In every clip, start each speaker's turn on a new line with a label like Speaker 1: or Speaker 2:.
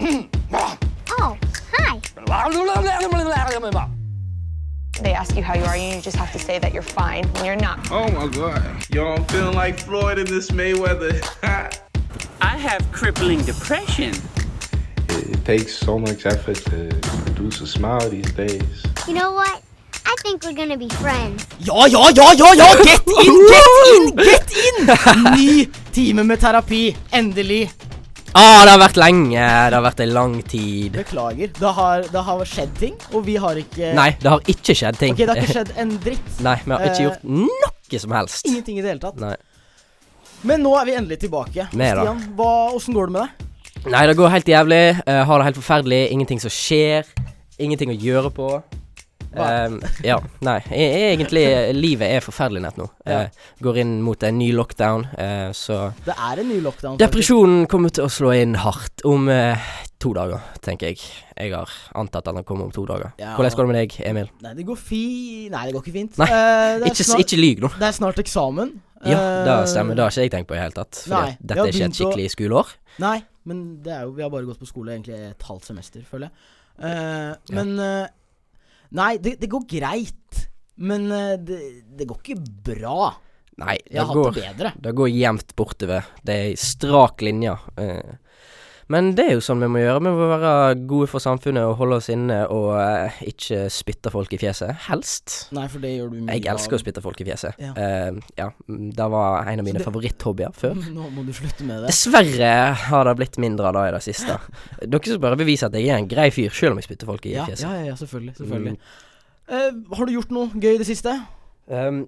Speaker 1: Oh, hi.
Speaker 2: They ask you how you are, and you just have to say that you're fine when you're not.
Speaker 3: Oh my God. Y'all feeling like Floyd in this Mayweather.
Speaker 4: I have crippling depression.
Speaker 5: It, it takes so much effort to produce a smile these days.
Speaker 1: You know what? I think we're gonna be friends.
Speaker 6: Ja, ja, ja, ja, ja! Get in, get in, get in! Ny time med terapi. Endelig.
Speaker 7: Ah, det har vært lenge. Det har vært en lang tid.
Speaker 6: Beklager. Det har, det har skjedd ting, og vi har ikke
Speaker 7: Nei, det har ikke skjedd ting.
Speaker 6: Ok, det har ikke skjedd en dritt.
Speaker 7: Nei, vi har ikke
Speaker 6: Eh,
Speaker 7: gjort noe som helst.
Speaker 6: Ingenting i det hele tatt.
Speaker 7: Nei.
Speaker 6: Men nå er vi endelig tilbake.
Speaker 7: Nei da.
Speaker 6: Stian, hva, åssen går det med deg?
Speaker 7: Nei, det går helt jævlig. eh, har det helt forferdelig. Ingenting som skjer. Ingenting å gjøre på.
Speaker 6: Hva?
Speaker 7: Eh, ja. Nei, e egentlig eh, Livet er forferdelig nett nå. Eh, går inn mot en ny lockdown, eh, så
Speaker 6: Det er en ny lockdown. faktisk.
Speaker 7: Depresjonen kommer til å slå inn hardt om eh, to dager, tenker jeg. Jeg har antatt at den kommer om to dager.
Speaker 6: Ja.
Speaker 7: Hvordan går det med deg, Emil?
Speaker 6: Nei, det går fi... Nei, det går ikke fint.
Speaker 7: Nei,
Speaker 6: Eh, det er
Speaker 7: Ikke, s-
Speaker 6: snart,
Speaker 7: ikke lyg nå.
Speaker 6: Det er snart eksamen.
Speaker 7: Ja, det
Speaker 6: Eh,
Speaker 7: stemmer. Det har ikke jeg tenkt på i det hele tatt. For
Speaker 6: nei, vi
Speaker 7: dette er
Speaker 6: har
Speaker 7: ikke et
Speaker 6: begynt å-
Speaker 7: skikkelig skoleår.
Speaker 6: Nei, men det er jo Vi har bare gått på skole egentlig et halvt semester, føler jeg. Eh,
Speaker 7: Ja.
Speaker 6: Men eh, Nei, det, det går greit. Men eh, det, det går ikke bra.
Speaker 7: Nei,
Speaker 6: Jeg
Speaker 7: det
Speaker 6: har hatt
Speaker 7: går,
Speaker 6: det bedre.
Speaker 7: det går jevnt bortover. Det er ei strak linje. eh. Men det er jo sånn vi må gjøre. Vi må være gode for samfunnet og holde oss inne og eh, ikke spytte folk i fjeset. Helst.
Speaker 6: Nei, for det gjør du mye
Speaker 7: Jeg elsker å
Speaker 6: av.
Speaker 7: spytte folk i fjeset.
Speaker 6: Ja.
Speaker 7: Eh, ja. Det var en av mine
Speaker 6: det-
Speaker 7: favoritthobbyer før.
Speaker 6: Nå må du slutte med det.
Speaker 7: Dessverre har det blitt mindre av det i det siste. Dere skal bare bevise at jeg er en grei fyr, sjøl om jeg Mm. spytter folk i
Speaker 6: Ja,
Speaker 7: fjeset.
Speaker 6: ja, ja, ja, selvfølgelig. selvfølgelig. Eh, har du gjort noe gøy i det siste?
Speaker 7: Um,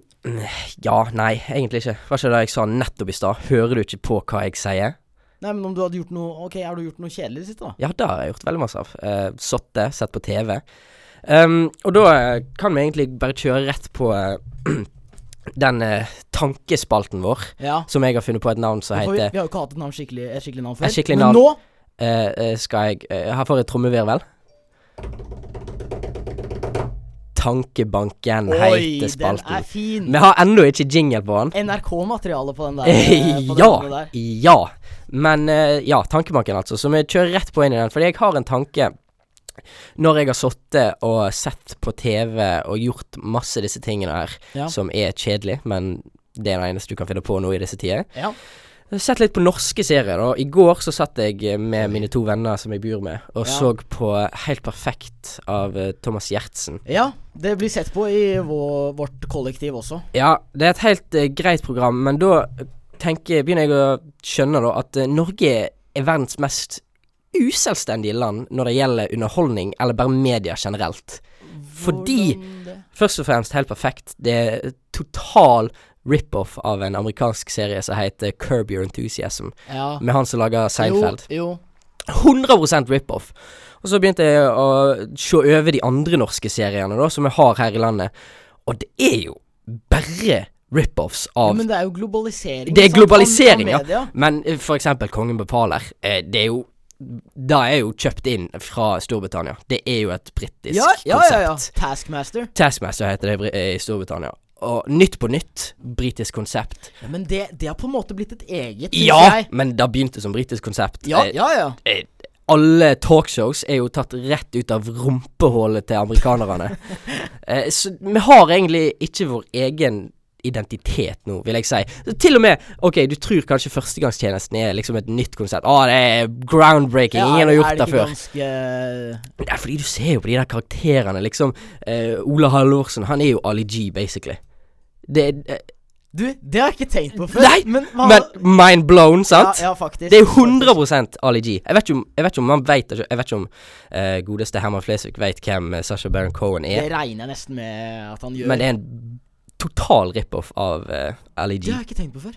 Speaker 7: ja, nei, egentlig ikke. Var ikke det jeg sa nettopp i stad? Hører du ikke på hva jeg sier?
Speaker 6: Nei, men om du hadde gjort noe Ok, har du gjort noe kjedelig i det siste, da?
Speaker 7: Ja, det har jeg gjort veldig masse av. Uh, Sittet, sett på TV. Um, og da eh, kan vi egentlig bare kjøre rett på eh, den eh, tankespalten vår,
Speaker 6: Ja.
Speaker 7: som jeg har funnet på et navn som
Speaker 6: Nå får vi,
Speaker 7: heter
Speaker 6: vi har jo ikke hatt et navn skikkelig, et skikkelig navn
Speaker 7: Et
Speaker 6: før.
Speaker 7: skikkelig
Speaker 6: men
Speaker 7: navn.
Speaker 6: nå
Speaker 7: eh, eh, Skal jeg eh, Her får jeg trommevirvel. Tankebanken
Speaker 6: Oi,
Speaker 7: heter
Speaker 6: den er
Speaker 7: spalten.
Speaker 6: fin!
Speaker 7: Vi har ennå ikke jingle på den.
Speaker 6: NRK-materiale på den der. eh, på den
Speaker 7: ja,
Speaker 6: ene der.
Speaker 7: ja. Men eh, ja, tankebanken altså. Så vi kjører rett på inn i den. Fordi jeg har en tanke når jeg har sittet og sett på TV og gjort masse disse tingene her,
Speaker 6: Ja.
Speaker 7: som er kjedelig, men det er det eneste du kan finne på nå i disse tider.
Speaker 6: Ja.
Speaker 7: Jeg har Sett litt på norske serier, da. I går så satt jeg med mine to venner som jeg bor med, og
Speaker 6: Ja.
Speaker 7: så på Helt perfekt av eh, Thomas Gjertsen.
Speaker 6: ja, det blir sett på i vår, vårt kollektiv også.
Speaker 7: Ja, det er et helt eh, greit program, men da tenker, begynner jeg å skjønne da at eh, Norge er verdens mest uselvstendige land når det gjelder underholdning, eller bare media generelt. Fordi-
Speaker 6: Hvordan det-
Speaker 7: Først og fremst helt perfekt. Det er total rip-off av en amerikansk serie som heter Curb Your Enthusiasm,
Speaker 6: Ja.
Speaker 7: med han som lager Seinfeld.
Speaker 6: Jo, jo.
Speaker 7: 100 rip-off. Og så begynte jeg å se over de andre norske seriene da, som vi har her i landet, og det er jo bare rip-offs
Speaker 6: Ja,
Speaker 7: av
Speaker 6: men det er jo globalisering.
Speaker 7: Det er
Speaker 6: sant?
Speaker 7: globalisering,
Speaker 6: Av- av
Speaker 7: ja.
Speaker 6: media.
Speaker 7: Men eh, for eksempel Kongen befaler, eh, det er jo Det er jo kjøpt inn fra Storbritannia. Det er jo et britisk
Speaker 6: Ja, ja, ja, ja.
Speaker 7: konsept.
Speaker 6: Taskmaster.
Speaker 7: Taskmaster heter det i Bri- eh, i Storbritannia. Og Nytt på nytt, britisk konsept.
Speaker 6: Ja, men det, det har på en måte blitt et eget, synes
Speaker 7: Ja,
Speaker 6: jeg.
Speaker 7: men det begynte som britisk konsept.
Speaker 6: Ja,
Speaker 7: Eh,
Speaker 6: ja, ja.
Speaker 7: eh, alle talkshows er jo tatt rett ut av rumpehullet til amerikanerne. eh, så vi har egentlig ikke vår egen identitet nå, vil jeg si. Så til og med Ok, du tror kanskje førstegangstjenesten er liksom et nytt konsept. Å, det er groundbreaking.
Speaker 6: Ja,
Speaker 7: Ingen har
Speaker 6: er
Speaker 7: gjort det
Speaker 6: ikke
Speaker 7: før.
Speaker 6: Ganske...
Speaker 7: Det er fordi du ser jo på de der karakterene, liksom. Eh, Ola Halvorsen, han er jo Ali G, basically. Det er
Speaker 6: Du, det har jeg ikke tenkt på før.
Speaker 7: Nei,
Speaker 6: men, hva-
Speaker 7: Men mind blown, sant?
Speaker 6: Ja, ja, faktisk.
Speaker 7: Det er
Speaker 6: faktisk.
Speaker 7: 100 Ali G. Jeg vet ikke om, jeg vet ikke om man vet Jeg vet ikke om eh, godeste Herman Flesvig vet hvem eh, Sacha Baron Cohen
Speaker 6: Det
Speaker 7: er,
Speaker 6: regner jeg nesten med at han gjør.
Speaker 7: men det er en total rip-off av eh, Ali
Speaker 6: Det
Speaker 7: G.
Speaker 6: har jeg ikke tenkt på før.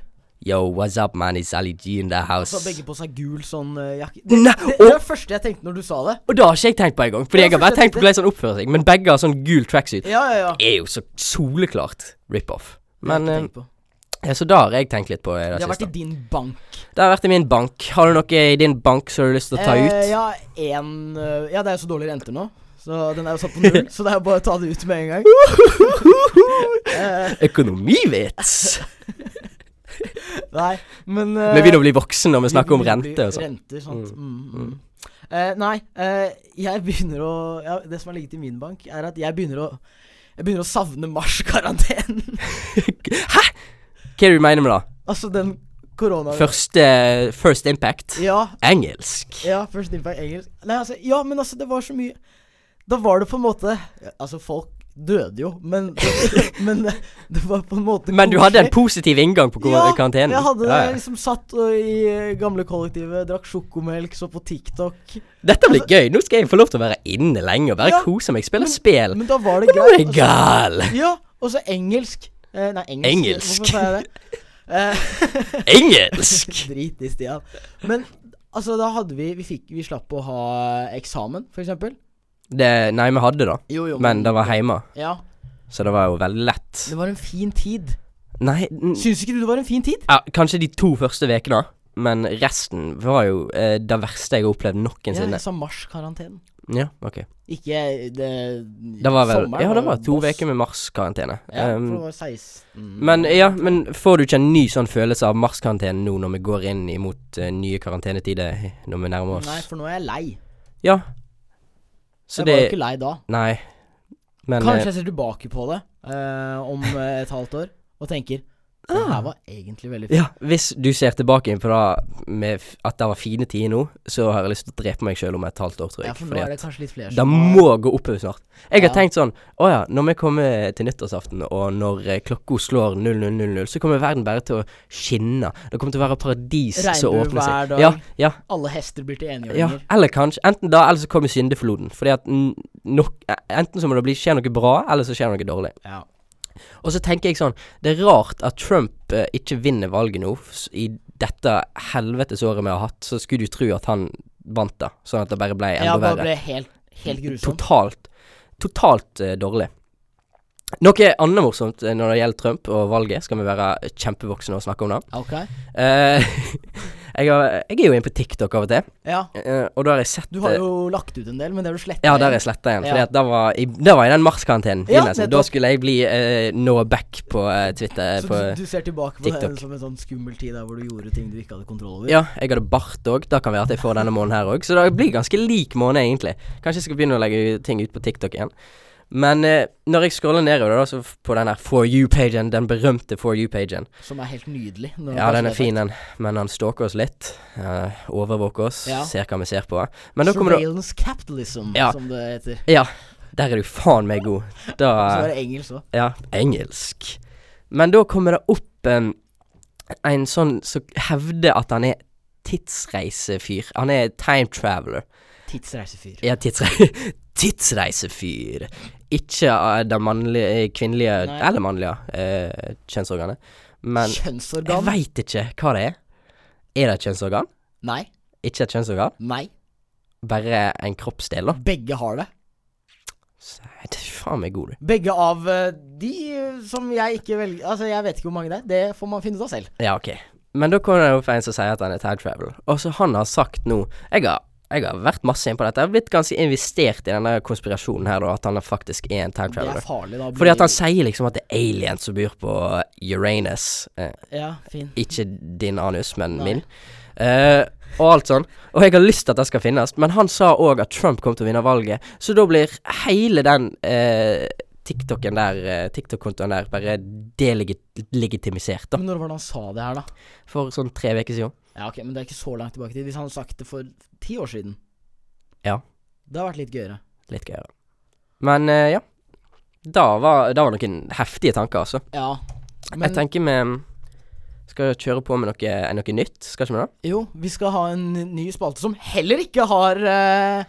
Speaker 7: Yo, what's up, man? It's Ali G in the house.
Speaker 6: Så har begge på seg gul sånn eh, jakke. Det,
Speaker 7: Nei,
Speaker 6: det, det
Speaker 7: og,
Speaker 6: var det første jeg tenkte når du sa det.
Speaker 7: og det har ikke jeg tenkt på engang, Fordi
Speaker 6: Ja,
Speaker 7: jeg har bare
Speaker 6: forstår
Speaker 7: tenkt på hvordan han oppfører seg. Men begge har sånn gul tracksuit.
Speaker 6: Ja, ja, ja.
Speaker 7: Det er jo så soleklart rip-off.
Speaker 6: Det har
Speaker 7: Men
Speaker 6: jeg ikke
Speaker 7: eh,
Speaker 6: tenkt på.
Speaker 7: ja, Så da har jeg tenkt litt på i det
Speaker 6: det har vært
Speaker 7: siste.
Speaker 6: i din bank.
Speaker 7: Det har vært i min bank. Har du noe i din bank som du har lyst til å ta ut?
Speaker 6: Eh, ja, en, eh, ja, det er jo så dårlige renter nå. Så den er jo satt på null, så det er jo bare å ta det ut med en gang. Eh,
Speaker 7: Økonomivits!
Speaker 6: nei, men eh,
Speaker 7: Vi begynner å bli voksne når vi snakker om
Speaker 6: vi- vi-
Speaker 7: rente og sånn.
Speaker 6: Renter, sant. Mm. Mm, Eh, nei, eh, jeg begynner å ja, Det som har ligget i min bank, er at jeg begynner å Jeg begynner å savne mars-karantenen.
Speaker 7: Hæ?! Hva er det du mener med det?
Speaker 6: altså den korona...
Speaker 7: Første First Impact?
Speaker 6: Ja,
Speaker 7: Engelsk.
Speaker 6: ja, first impact engelsk. Nei, altså, ja, men altså, det var så mye Da var det på en måte ja, Altså, folk døde jo, men Men det, det var på en måte
Speaker 7: Men du hadde en
Speaker 6: koselig.
Speaker 7: positiv inngang på kor- karantenen?
Speaker 6: Ja, jeg hadde
Speaker 7: Ja, ja.
Speaker 6: liksom satt og, i eh, gamle kollektivet, drakk sjokomelk, så på TikTok.
Speaker 7: Dette blir gøy. Nå skal jeg få lov til å være inne lenge og bare
Speaker 6: Altså- Ja,
Speaker 7: kose meg. Spille spill.
Speaker 6: Men da var det
Speaker 7: Men nå er
Speaker 6: greit.
Speaker 7: jeg
Speaker 6: altså.
Speaker 7: gal!
Speaker 6: Ja, og så engelsk. Eh, nei, engelsk.
Speaker 7: Engelsk.
Speaker 6: Hvorfor sa jeg det? Eh,
Speaker 7: Engelsk!
Speaker 6: Drit i Stian. Men altså, da hadde vi Vi, fikk, vi slapp å ha eksamen, for eksempel.
Speaker 7: Det, nei, vi hadde det,
Speaker 6: Jo, jo.
Speaker 7: men det var hjemme,
Speaker 6: Ja.
Speaker 7: så det var jo veldig lett.
Speaker 6: Det var en fin tid.
Speaker 7: Nei n
Speaker 6: Syns ikke du det var en fin tid?
Speaker 7: ja, Kanskje de to første ukene, men resten var jo eh, det verste jeg har opplevd noensinne.
Speaker 6: jeg sa mars-karantenen.
Speaker 7: Ja, ok.
Speaker 6: Ikke eh, det
Speaker 7: Det var vel
Speaker 6: sommeren
Speaker 7: Ja, det var to
Speaker 6: boss.
Speaker 7: uker med marskarantene.
Speaker 6: Ja, for det
Speaker 7: Um,
Speaker 6: var 16
Speaker 7: men ja, men får du ikke en ny sånn følelse av marskarantene nå når vi går inn imot eh, nye karantenetider eh, når vi nærmer oss?
Speaker 6: Nei, for nå er jeg lei.
Speaker 7: Ja. Så
Speaker 6: jeg var jo
Speaker 7: det
Speaker 6: ikke lei da.
Speaker 7: Nei. Men eh,
Speaker 6: Kanskje jeg ser tilbake på det eh, om eh, et halvt år og tenker Det her var egentlig veldig fint.
Speaker 7: Ah. Ja, hvis du ser tilbake på det med f- at det var fine tider nå, så har jeg lyst til å drepe meg sjøl om et halvt år, tror
Speaker 6: Ja,
Speaker 7: jeg.
Speaker 6: for nå
Speaker 7: fordi
Speaker 6: er det
Speaker 7: at
Speaker 6: kanskje litt flere
Speaker 7: det
Speaker 6: som har-
Speaker 7: må gå oppover snart. Jeg har
Speaker 6: Ja.
Speaker 7: tenkt sånn Å ja, når vi kommer til nyttårsaften, og når eh, klokka slår 00.00, så kommer verden bare til å skinne. Det kommer til å være paradis som
Speaker 6: Regnbue
Speaker 7: åpner seg.
Speaker 6: hver dag.
Speaker 7: Ja, ja,
Speaker 6: Alle hester blir til
Speaker 7: ja.
Speaker 6: enhjørninger.
Speaker 7: Eller kanskje Enten da, eller så kommer syndefloden. Fordi at n- nok, e, enten så må det bli skje noe bra, eller så skjer det noe dårlig.
Speaker 6: Ja.
Speaker 7: Og så tenker jeg sånn Det er rart at Trump eh, ikke vinner valget nå. f- s- I dette helvetes året vi har hatt, så skulle du tro at han vant det. Sånn at det bare ble enda
Speaker 6: Ja, bare
Speaker 7: verre.
Speaker 6: ble helt, helt grusomt.
Speaker 7: Totalt Totalt eh, dårlig. Noe annet morsomt eh, når det gjelder Trump og valget, skal vi være eh, kjempevoksne og snakke om det.
Speaker 6: Ok.
Speaker 7: Eh, jeg, har, jeg er jo inne på TikTok av og til,
Speaker 6: Ja.
Speaker 7: eh, og da har jeg sett
Speaker 6: Du har
Speaker 7: eh,
Speaker 6: jo lagt ut en del, men det har du slettet.
Speaker 7: ja, der er jeg sletta igjen. Fordi
Speaker 6: Ja.
Speaker 7: at det var, i, det var i den marskarantenen.
Speaker 6: Ja,
Speaker 7: tidligere, så da
Speaker 6: nettopp.
Speaker 7: skulle jeg bli eh, no back på eh, Twitter.
Speaker 6: Så
Speaker 7: på,
Speaker 6: du, du ser tilbake på
Speaker 7: TikTok.
Speaker 6: det som en sånn skummel tid der hvor du gjorde ting du ikke hadde kontroll over?
Speaker 7: Ja, jeg hadde bart òg. Da kan være at jeg får denne måneden her òg. Så det blir ganske lik måned, egentlig. Kanskje jeg skal begynne å legge ting ut på TikTok igjen. Men eh, når jeg scroller nedover, da, så f- på den her for you-pagen, den berømte for you-pagen
Speaker 6: Som er helt nydelig. når
Speaker 7: Ja, den
Speaker 6: man kanskje
Speaker 7: er
Speaker 6: vet
Speaker 7: fin, den, men han stalker oss litt. eh, overvåker oss,
Speaker 6: Ja.
Speaker 7: ser hva vi ser på.
Speaker 6: at-
Speaker 7: Men da kommer det
Speaker 6: Surveillance capitalism,
Speaker 7: Ja.
Speaker 6: som det heter.
Speaker 7: Ja, der er du faen meg god. Da
Speaker 6: Så er det engelsk òg.
Speaker 7: Ja, engelsk. Men da kommer det opp en, en sånn som hevder at han er tidsreisefyr. Han er time traveler.
Speaker 6: Tidsreisefyr.
Speaker 7: Ja, tidsre tidsreisefyr. Ikke av det mannlige, eh, kvinnelige
Speaker 6: Nei.
Speaker 7: eller mannlige eh, kjønnsorganet. Men jeg
Speaker 6: Kjønnsorgan?
Speaker 7: veit ikke hva det er. Er det et kjønnsorgan?
Speaker 6: Nei.
Speaker 7: Ikke et kjønnsorgan,
Speaker 6: Nei.
Speaker 7: bare en kroppsdel, da.
Speaker 6: Begge har det.
Speaker 7: Så, jeg- det er faen meg god, du.
Speaker 6: Begge av eh, de eh, som jeg ikke velger Altså, jeg vet ikke hvor mange det er. Det får man finne ut av selv.
Speaker 7: Ja, ok. Men da kommer det opp en som sier at han er time travel. Og så han har sagt nå jeg har, jeg har vært masse inn på dette. Jeg har blitt ganske investert i denne konspirasjonen her, da, at han faktisk er en time
Speaker 6: Det er
Speaker 7: traveler.
Speaker 6: farlig, da. å
Speaker 7: Fordi at han
Speaker 6: bli-
Speaker 7: sier liksom at det er aliens som bor på Uranus. Eh,
Speaker 6: Ja, fin.
Speaker 7: ikke din anus, men
Speaker 6: Nei.
Speaker 7: min. Eh, og alt sånn. Og jeg har lyst til at det skal finnes, men han sa òg at Trump kom til å vinne valget, så da blir hele den eh, TikTok-en der, eh, TikTok-kontoen der, bare delegitimisert, da.
Speaker 6: Men når var det han sa det her, da?
Speaker 7: For sånn tre uker siden.
Speaker 6: Ja, ok, Men det er ikke så langt tilbake i tid. Hvis han hadde sagt det for ti år siden
Speaker 7: Ja.
Speaker 6: Det har vært litt gøyere.
Speaker 7: Litt gøyere. Men eh, ja. Da var, da var noen heftige tanker, altså.
Speaker 6: Ja.
Speaker 7: jeg tenker vi mm, skal kjøre på med noe, eh, noe nytt, skal ikke vi det?
Speaker 6: Jo, vi skal ha en ny spalte som heller ikke har eh,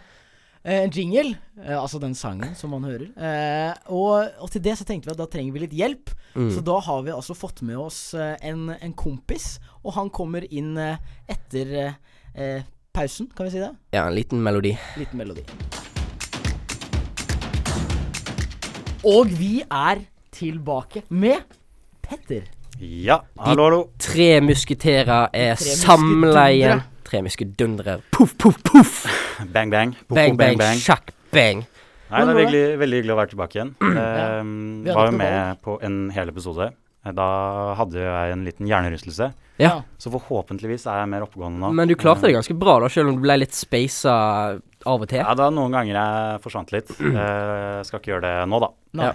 Speaker 6: en jingle. eh, altså den sangen som man hører. Eh, og, og til det så tenkte vi at da trenger vi litt hjelp.
Speaker 8: Mm.
Speaker 6: Så da har vi altså fått med oss eh, en, en kompis, og han kommer inn eh, etter eh, eh, pausen, kan vi si det?
Speaker 7: Ja, en liten melodi.
Speaker 6: Liten melodi. Og vi er tilbake med Petter.
Speaker 8: Ja, hallo, hallo.
Speaker 7: Tre musketerer er
Speaker 6: Tre
Speaker 7: samla igjen.
Speaker 6: muskedundere.
Speaker 7: Tre muskedundere. Poff, poff, poff!
Speaker 8: Bang, bang. Popo,
Speaker 7: Bang, bang, sjakk, bang.
Speaker 8: Nei, det
Speaker 6: Hvordan
Speaker 8: er
Speaker 7: Mm.
Speaker 6: går
Speaker 8: veldig, veldig hyggelig å være tilbake igjen. Um,
Speaker 6: Vi hadde
Speaker 8: var jo
Speaker 6: ikke noe
Speaker 8: med på en hel episode. Eh, Da hadde jeg en liten hjernerystelse.
Speaker 7: Ja.
Speaker 8: Så forhåpentligvis er jeg mer oppegående nå.
Speaker 7: Men du klarte
Speaker 8: Eh,
Speaker 7: det ganske bra, da, selv om du ble litt speisa av og til.
Speaker 8: Ja, da noen ganger jeg forsvant litt.
Speaker 7: Mm.
Speaker 8: Eh, skal ikke gjøre det nå, da.
Speaker 6: Nei.
Speaker 7: Ja.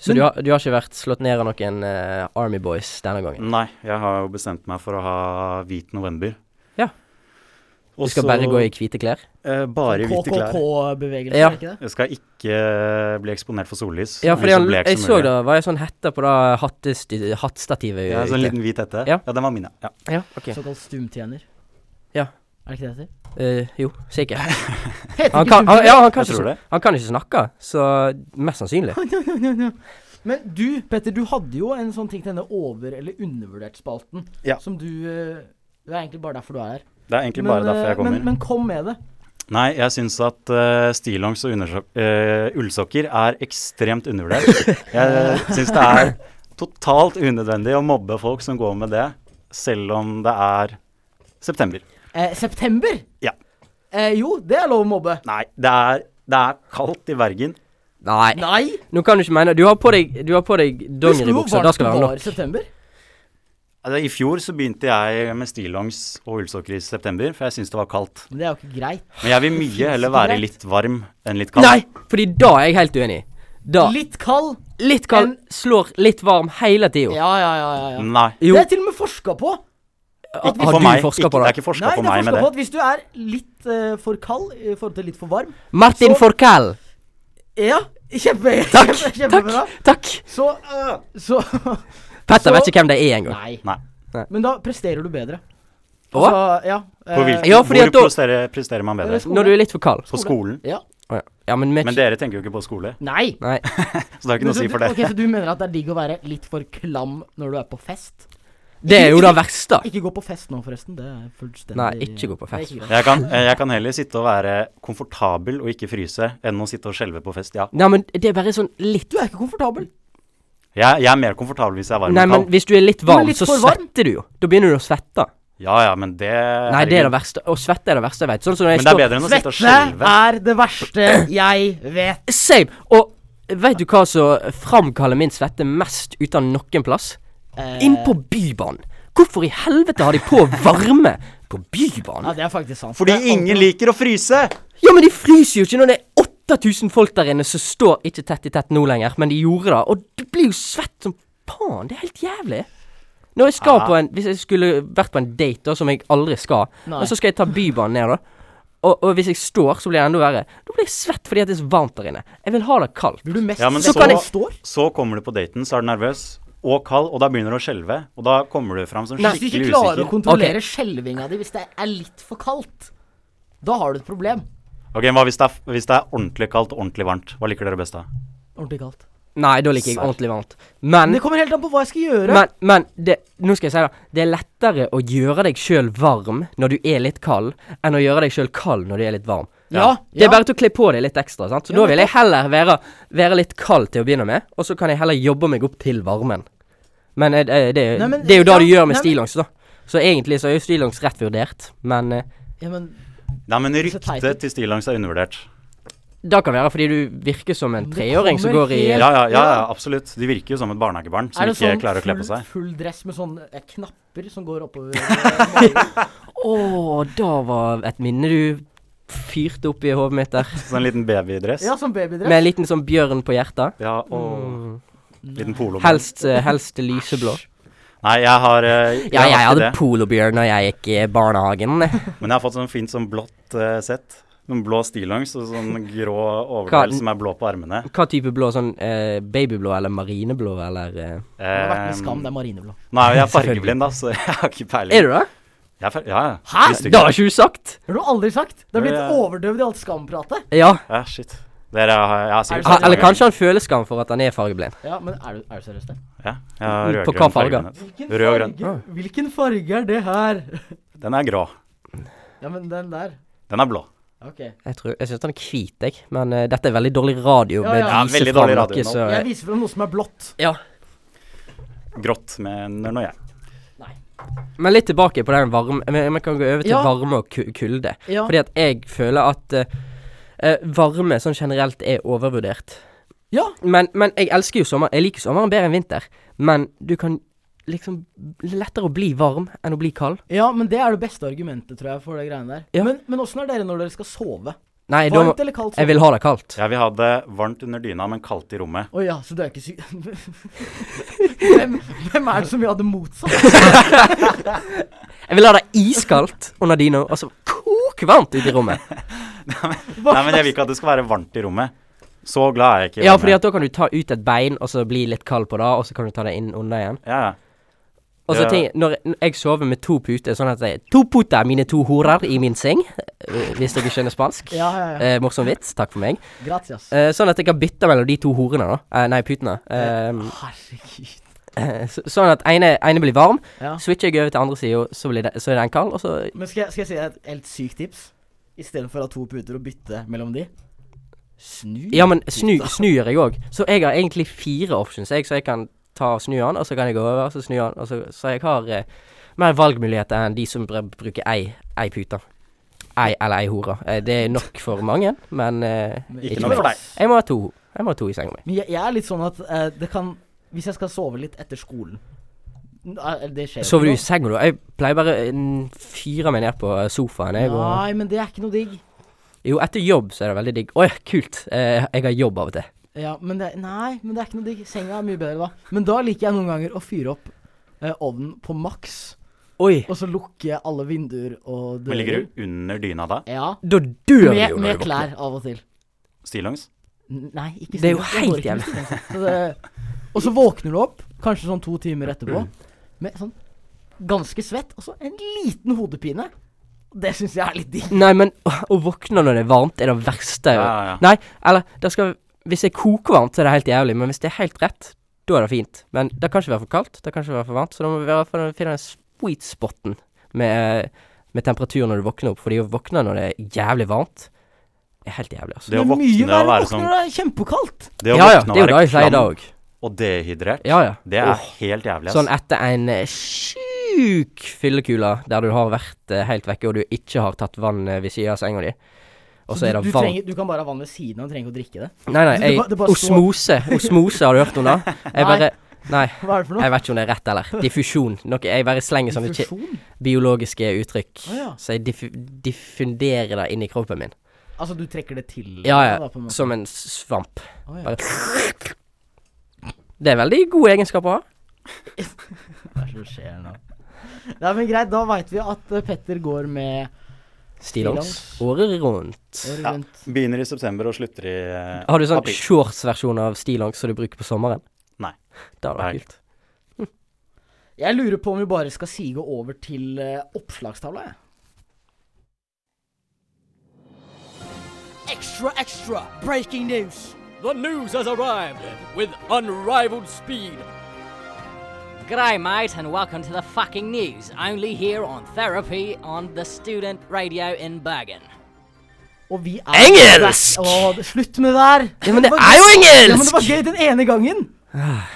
Speaker 7: Så du har, du har ikke vært slått ned av noen eh, Army Boys denne gangen?
Speaker 8: Nei, jeg har jo bestemt meg for å ha hvit november.
Speaker 7: Ja. Du skal bare gå i hvite klær?
Speaker 8: eh, Bare i hvite klær.
Speaker 6: KKK-bevegelse,
Speaker 7: Ja.
Speaker 6: er ikke det?
Speaker 8: Jeg skal ikke eh, bli eksponert for sollys.
Speaker 7: Ja, fordi han,
Speaker 8: blir
Speaker 7: jeg så det var ei sånn hette på det hattesti- hattstativet.
Speaker 6: Eh,
Speaker 8: Ja, sånn
Speaker 7: ute.
Speaker 8: liten hvit hette.
Speaker 7: Ja.
Speaker 8: Ja, den var min, ja. ja.
Speaker 7: Ja, ok.
Speaker 6: Såkalt stumtjener.
Speaker 7: Ja.
Speaker 6: Er det ikke det det heter?
Speaker 7: Eh, jo, sikkert.
Speaker 6: Heter
Speaker 7: Han
Speaker 6: ikke
Speaker 7: kan, han,
Speaker 6: stumtjener?
Speaker 7: ja, han, kan
Speaker 8: Jeg
Speaker 7: ikke, sn-
Speaker 8: tror det.
Speaker 7: han kan ikke snakke, så mest sannsynlig.
Speaker 6: Men du, Petter, du hadde jo en sånn ting til denne over- eller undervurdert-spalten.
Speaker 8: Ja.
Speaker 6: Som du eh, Det er egentlig bare derfor du er her.
Speaker 8: Det er egentlig bare derfor
Speaker 6: eh,
Speaker 8: jeg kommer.
Speaker 6: Men, men kom med det.
Speaker 8: Nei, jeg syns at eh, stillongs og undersok- eh, ullsokker er ekstremt undervurdert. jeg eh, syns det er totalt unødvendig å mobbe folk som går med det, selv om det er september.
Speaker 6: Eh, september?
Speaker 8: Ja.
Speaker 6: Eh, jo, det er lov å mobbe.
Speaker 8: Nei, det er, det er kaldt i Bergen.
Speaker 7: Nei.
Speaker 6: Nei!
Speaker 7: Nå kan du ikke mene Du har på deg, du har på deg
Speaker 6: Husker du hvor
Speaker 7: dongeribukser. Da
Speaker 6: varmt
Speaker 7: skal det
Speaker 6: det var i
Speaker 7: være nok.
Speaker 6: september?
Speaker 8: Altså, I fjor så begynte jeg med stillongs og ullsokker i september, for jeg syns det var kaldt.
Speaker 6: Men det er jo ikke greit.
Speaker 8: Men jeg vil mye heller være litt varm enn litt kald.
Speaker 7: Nei! Fordi da er jeg helt uenig. Da
Speaker 6: Litt kald.
Speaker 7: Litt kald,
Speaker 6: en-
Speaker 7: slår litt varm hele tida.
Speaker 6: Ja, ja, ja. ja, ja.
Speaker 8: Nei.
Speaker 7: Jo,
Speaker 6: Det er til og med forska på.
Speaker 7: har
Speaker 8: For
Speaker 7: du
Speaker 8: meg,
Speaker 7: forska
Speaker 8: ikke,
Speaker 7: på
Speaker 8: det er
Speaker 7: det?
Speaker 8: ikke forska
Speaker 6: Nei,
Speaker 8: på
Speaker 6: det er
Speaker 8: meg med
Speaker 6: forska
Speaker 8: det.
Speaker 6: på at hvis du er litt eh, for kald i forhold til litt for varm
Speaker 7: Martin
Speaker 6: Så-
Speaker 7: Forkell.
Speaker 6: Ja, kjempe,
Speaker 7: Takk,
Speaker 6: kjempe,
Speaker 7: takk,
Speaker 6: kjempebra.
Speaker 7: takk.
Speaker 6: Så, øh, så
Speaker 7: Petter
Speaker 6: Så-
Speaker 7: vet ikke hvem det er engang.
Speaker 6: Nei.
Speaker 8: Nei.
Speaker 6: Men da presterer du bedre.
Speaker 7: Å?
Speaker 6: Altså, ja.
Speaker 8: På
Speaker 6: eh,
Speaker 8: hvilken,
Speaker 7: Ja, fordi at da-
Speaker 8: hvor presterer, presterer man bedre?
Speaker 6: skole.
Speaker 7: Når du er litt for kald.
Speaker 8: På skolen?
Speaker 6: Ja.
Speaker 7: Å Ja, ja men vi
Speaker 8: Men dere tenker jo ikke på skole,
Speaker 6: Nei.
Speaker 7: Nei.
Speaker 8: så det har ikke noe å si for
Speaker 6: Ok,
Speaker 8: det.
Speaker 6: Så du mener at det er digg å være litt for klam når du er på fest?
Speaker 7: Det er jo det verste.
Speaker 6: Ikke gå på fest nå, forresten. Det er fullstendig
Speaker 7: Nei, ikke gå på fest.
Speaker 6: Det er ikke greit.
Speaker 8: Jeg kan, jeg kan heller sitte og være komfortabel og ikke fryse, enn å sitte og skjelve på fest. Ja.
Speaker 7: Nei, men det er bare sånn litt
Speaker 6: Du er ikke komfortabel.
Speaker 8: Jeg, jeg er mer komfortabel hvis jeg er varm
Speaker 7: Nei,
Speaker 8: og
Speaker 7: men
Speaker 8: kald.
Speaker 7: hvis du er litt
Speaker 6: men
Speaker 7: varm,
Speaker 6: litt
Speaker 7: så
Speaker 6: for varm.
Speaker 7: svetter du jo. Da begynner du å svette.
Speaker 8: Ja ja, men det
Speaker 7: Nei, det er det
Speaker 8: herregud.
Speaker 7: verste. Å svette er det verste jeg vet. Sånn som når jeg
Speaker 8: Men det er
Speaker 7: står
Speaker 8: bedre enn å sitte og
Speaker 6: Svette
Speaker 8: skjelve.
Speaker 6: er det verste jeg vet.
Speaker 7: Same. Og vet du hva som framkaller min svette mest ut av noen plass? Inn på Bybanen. Hvorfor i helvete har de på varme på
Speaker 6: Ja,
Speaker 7: Bybanen?
Speaker 6: det er faktisk sant.
Speaker 8: Fordi
Speaker 6: Det er
Speaker 8: ingen liker å fryse!
Speaker 7: Ja, men de fryser jo ikke når det er 8000 folk der inne som står ikke tett i tett nå lenger, men de gjorde det. Og du blir jo svett som faen. Det er helt jævlig. Når jeg skal på en Hvis jeg skulle vært på en date, da, som jeg aldri skal,
Speaker 6: Nei.
Speaker 7: men så skal jeg ta Bybanen ned, da. Og, og hvis jeg står, så blir det enda verre. Da blir jeg svett fordi at det er så varmt der inne. Jeg vil ha det kaldt.
Speaker 6: Blir du mest
Speaker 8: Ja, men
Speaker 6: svett
Speaker 8: så-
Speaker 6: når du står?
Speaker 8: Så kommer du på daten, så er du nervøs og kald, og da begynner du å skjelve. Og da kommer du fram som
Speaker 7: Nei,
Speaker 6: Hvis du ikke
Speaker 8: skikkelig
Speaker 6: klarer å
Speaker 8: usikker.
Speaker 6: kontrollere skjelvinga di hvis det er litt for kaldt, da har du et problem.
Speaker 8: Ok, Hva hvis det er, hvis det er ordentlig kaldt og ordentlig varmt? Hva liker dere best da?
Speaker 6: Ordentlig kaldt.
Speaker 7: Nei, da liker jeg
Speaker 8: Serr.
Speaker 7: ordentlig varmt. Men
Speaker 6: Men det kommer helt an på hva jeg skal gjøre.
Speaker 7: Men, men det, nå skal jeg si det. Det er lettere å gjøre deg sjøl varm når du er litt kald, enn å gjøre deg sjøl kald når du er litt varm.
Speaker 6: Ja,
Speaker 7: Det
Speaker 6: ja.
Speaker 7: er bare til å kle på deg litt ekstra. sant? Så
Speaker 6: Ja,
Speaker 7: Da vil jeg heller være, være litt kald til å begynne med, og så kan jeg heller jobbe meg opp til varmen. Men eh, det, det,
Speaker 6: Nei, men-
Speaker 7: det er jo
Speaker 6: ja,
Speaker 7: da du gjør med
Speaker 6: nei, men-
Speaker 7: stillongs, da. Så egentlig så er jo stillongs rett vurdert, men eh,
Speaker 6: ja, men
Speaker 8: Nei, men
Speaker 6: Så teit
Speaker 8: ryktet
Speaker 6: ut.
Speaker 8: til stillongs er undervurdert.
Speaker 7: da kan være fordi du virker som en
Speaker 6: Men det
Speaker 7: treåring som
Speaker 6: kommer
Speaker 7: går i
Speaker 6: helt-
Speaker 8: Ja, ja, ja, ja
Speaker 6: Ja.
Speaker 8: absolutt. De virker jo som et barnehagebarn som
Speaker 6: Er det
Speaker 8: ikke
Speaker 6: sånn
Speaker 8: klarer å kle på
Speaker 6: full,
Speaker 8: seg.
Speaker 6: full dress med sånne eh, knapper som går oppover?
Speaker 7: Å, da var et minne du fyrte opp i hodet mitt der.
Speaker 8: Sånn liten babydress.
Speaker 6: ja, som babydress?
Speaker 7: Med en liten sånn bjørn på hjertet.
Speaker 8: Ja, og liten polo.
Speaker 7: Helst, eh, helst lyseblå.
Speaker 8: Nei, jeg har eh, jeg
Speaker 7: Ja,
Speaker 8: har
Speaker 7: jeg
Speaker 8: ikke
Speaker 7: hadde
Speaker 8: det,
Speaker 7: polobjørn da jeg gikk i barnehagen.
Speaker 8: Men jeg har fått sånn fint sånn blått eh, sett. Noen blå stillongs og sånn grå overdel
Speaker 7: Hva-
Speaker 8: som er blå på armene.
Speaker 7: Hva type blå? Sånn eh, babyblå eller marineblå eller eh.
Speaker 6: Det har vært med skam,
Speaker 8: Eh,
Speaker 6: det er marineblå.
Speaker 8: Nei, jeg er fargeblind, da, så jeg har ikke peiling.
Speaker 7: Er du det?
Speaker 8: Jeg er far- ja, ja.
Speaker 6: Hæ?
Speaker 8: Visste
Speaker 7: Det
Speaker 8: ikke.
Speaker 7: har ikke du sagt!
Speaker 6: Det har du aldri sagt. Det har blitt
Speaker 8: Ja, ja.
Speaker 6: overdøvd i alt skampratet.
Speaker 7: Ja.
Speaker 8: Ja, shit. Dere har Jeg har sikkert
Speaker 7: Ha,
Speaker 8: sett
Speaker 7: eller
Speaker 8: mange
Speaker 7: kanskje han føler skam for at han er fargeblind.
Speaker 6: Ja, men er du, er du seriøs, det?
Speaker 8: ganger. Ja, jeg har
Speaker 7: På
Speaker 8: rødgrønn
Speaker 7: hva farge?
Speaker 8: farge.
Speaker 6: Hvilken
Speaker 8: Rød og grønn.
Speaker 6: farge- Hvilken farge er det her?
Speaker 8: Den er grå.
Speaker 6: Ja, men den der.
Speaker 8: Den er blå.
Speaker 6: Ok.
Speaker 7: Jeg, tror- jeg syns han er hvit, jeg. Men eh, dette er veldig dårlig radio.
Speaker 6: Ja,
Speaker 7: med
Speaker 6: ja.
Speaker 7: å
Speaker 8: Ja,
Speaker 7: vise
Speaker 8: veldig
Speaker 7: fram
Speaker 8: dårlig
Speaker 7: noe
Speaker 8: radio nå.
Speaker 7: så- eh,
Speaker 6: Jeg viser frem noe som er blått.
Speaker 7: ja.
Speaker 8: Grått mener nå jeg.
Speaker 7: Men litt tilbake på den varme Vi vi kan gå over til
Speaker 6: Ja.
Speaker 7: varme og ku- kulde.
Speaker 6: Ja.
Speaker 7: Fordi at jeg føler at eh, eh, varme sånn generelt er overvurdert.
Speaker 6: Ja.
Speaker 7: Men, men jeg elsker jo sommer. Jeg liker sommeren bedre enn vinter. Men du kan liksom Lettere å bli varm enn å bli kald.
Speaker 6: ja, men det er det beste argumentet, tror jeg, for det greiene der.
Speaker 7: Ja.
Speaker 6: Men, men åssen er dere når dere skal sove?
Speaker 7: Nei, da må
Speaker 6: Varmt eller kaldt?
Speaker 7: Jeg vil ha det kaldt.
Speaker 8: Jeg vil ha det varmt under dyna, men kaldt i rommet.
Speaker 6: Å ja, så du er ikke syk hvem, hvem er det som vil ha det motsatt?
Speaker 7: Jeg vil ha det iskaldt under dyna, og så kokvarmt ute i rommet.
Speaker 8: Nei, men jeg vil ikke at det skal være varmt i rommet. Så glad er jeg ikke. i
Speaker 7: Ja,
Speaker 8: varme.
Speaker 7: fordi at da kan du ta ut et bein, og så bli litt kald på det, og så kan du ta det inn under igjen.
Speaker 8: ja, ja.
Speaker 7: Og så
Speaker 8: Ja.
Speaker 7: ting, når når jeg sover med to puter, sånn at jeg, To puter, mine to horer i min seng, øh, hvis dere skjønner spansk.
Speaker 6: Ja, ja, ja.
Speaker 7: Eh, morsom vits, takk for meg.
Speaker 6: Gratias.
Speaker 7: Eh, sånn at jeg kan bytte mellom de to horene, da. Eh, nei, putene. Eh,
Speaker 6: Herregud.
Speaker 7: eh, så, sånn at ene, ene blir varm,
Speaker 6: Ja.
Speaker 7: switcher jeg over til andre sida, så, blir det- så er den kald, og så
Speaker 6: Men skal jeg, skal jeg si deg et helt sykt tips? Istedenfor å ha to puter og bytte mellom de? Snu.
Speaker 7: Ja, men snu, snu gjør jeg òg. Så jeg har egentlig fire options, jeg, så jeg kan ta og snu den, og så kan jeg gå over, og så snu den, og så, så jeg har eh, mer valgmuligheter enn de som br- bruker ei, ei pute. Ei eller ei hore. Eh, det er nok for mange, men eh,
Speaker 8: Ikke
Speaker 7: ikke
Speaker 8: noe
Speaker 7: meg.
Speaker 8: for deg.
Speaker 7: Jeg må ha to. Jeg må ha to i senga mi.
Speaker 6: Men jeg, jeg er litt sånn at eh, det kan Hvis jeg skal sove litt etter skolen N- eh, Det skjer jo
Speaker 7: Sover du i
Speaker 6: ikke
Speaker 7: senga, da? Jeg pleier bare å fyre meg ned på eh, sofaen. Jeg,
Speaker 6: nå.
Speaker 7: og,
Speaker 6: Nei, men det er ikke noe digg.
Speaker 7: jo, etter jobb så er det veldig digg. Å ja, kult. Eh, jeg har jobb av og til.
Speaker 6: Ja, men det, nei, men det er ikke noe digg. Senga er mye bedre da. Men da liker jeg noen ganger å fyre opp eh, ovnen på maks,
Speaker 7: Oi.
Speaker 6: og så lukke alle vinduer og
Speaker 8: Men
Speaker 6: dører.
Speaker 8: ligger du under dyna da?
Speaker 6: Ja.
Speaker 7: Da dør du
Speaker 6: Med,
Speaker 7: jo når
Speaker 6: med
Speaker 7: du våkner.
Speaker 6: klær av og til.
Speaker 8: Stillongs?
Speaker 6: N- Nei, ikke
Speaker 7: Det er jo
Speaker 6: stillongs. Jeg går
Speaker 7: helt
Speaker 6: ikke med stillongs. Så det- Og så våkner du opp, kanskje sånn to timer etterpå,
Speaker 8: Mm.
Speaker 6: med sånn ganske svett, og så en liten hodepine. Det syns jeg er litt digg.
Speaker 7: Nei, men å, å våkne når det er varmt, er det verste.
Speaker 8: Ja, ja, ja.
Speaker 7: Nei, eller det skal, Hvis det er kokvarmt, så er det helt jævlig, men hvis det er helt rett, da er det fint. Men det kan ikke være for kaldt, det kan ikke være for varmt, så da må vi være for å finne den sweet spoten med, med temperatur når du våkner opp. Fordi å våkne når det er jævlig varmt, er helt jævlig, altså.
Speaker 8: Det å
Speaker 6: Men mye
Speaker 8: våkne
Speaker 6: verre
Speaker 8: og være
Speaker 6: våkner
Speaker 8: sånn
Speaker 6: når det er kjempekaldt.
Speaker 8: Det å
Speaker 7: ja, ja,
Speaker 8: våkne
Speaker 7: det er
Speaker 8: og
Speaker 7: jo det
Speaker 8: være
Speaker 7: jeg sier i
Speaker 8: klam
Speaker 7: dag.
Speaker 8: og dehydrert,
Speaker 7: Ja, ja.
Speaker 8: det er
Speaker 7: Åh,
Speaker 8: helt jævlig, ass.
Speaker 7: sånn etter en eh, sjuk fyllekule der du har vært eh, helt vekke og du ikke har tatt vann eh, ved siden av senga di, og så er
Speaker 6: du,
Speaker 7: det
Speaker 6: du,
Speaker 7: varmt.
Speaker 6: trenger, du kan bare ha vann ved siden av, du trenger ikke å drikke det.
Speaker 7: Nei, nei,
Speaker 6: Altså, Det- det
Speaker 7: jeg,
Speaker 6: ba- det bare står-
Speaker 7: osmose. Osmose, har du hørt om det? Jeg
Speaker 6: Nei.
Speaker 7: bare Nei,
Speaker 6: Hva er det for noe?
Speaker 7: jeg vet ikke om det er rett eller. Diffusjon. Noe, jeg bare slenger sånne ki-
Speaker 6: Infusjon?
Speaker 7: biologiske uttrykk.
Speaker 6: Å, ja.
Speaker 7: Så jeg diffu diffunderer det inn i kroppen min.
Speaker 6: Altså, du trekker det til?
Speaker 7: Ja,
Speaker 6: da, på en
Speaker 7: ja.
Speaker 6: måte.
Speaker 7: Som en s- svamp.
Speaker 6: Å, ja.
Speaker 7: Bare Det er veldig gode egenskaper å ha.
Speaker 6: Hva er det som skjer nå? Nei, men greit, da veit vi at eh, Petter går med
Speaker 7: Stillongs.
Speaker 6: Stillongs.
Speaker 7: Året rundt.
Speaker 6: året
Speaker 8: Ja.
Speaker 6: rundt.
Speaker 8: Begynner i september og slutter i eh,
Speaker 7: Har du sånn
Speaker 8: april.
Speaker 7: shortsversjon av stillongs som du bruker på sommeren?
Speaker 8: Nei.
Speaker 7: Det hadde
Speaker 8: Nei.
Speaker 7: vært kult.
Speaker 6: Jeg lurer på om vi bare skal sige over til eh, oppslagstavla, jeg. Extra, extra, breaking news.
Speaker 9: The news has arrived with unrivaled speed.
Speaker 10: G'day, mate, and welcome to the fucking news. Only here on Therapy on the Student Radio in Bergen.
Speaker 6: Og vi er
Speaker 7: Engelsk!
Speaker 6: Å, det- slutt med det der!
Speaker 7: Ja, men det
Speaker 6: var
Speaker 7: er jo
Speaker 6: gøy- Ja, men det
Speaker 7: engelsk! Ah.
Speaker 6: var gøy den ene gangen!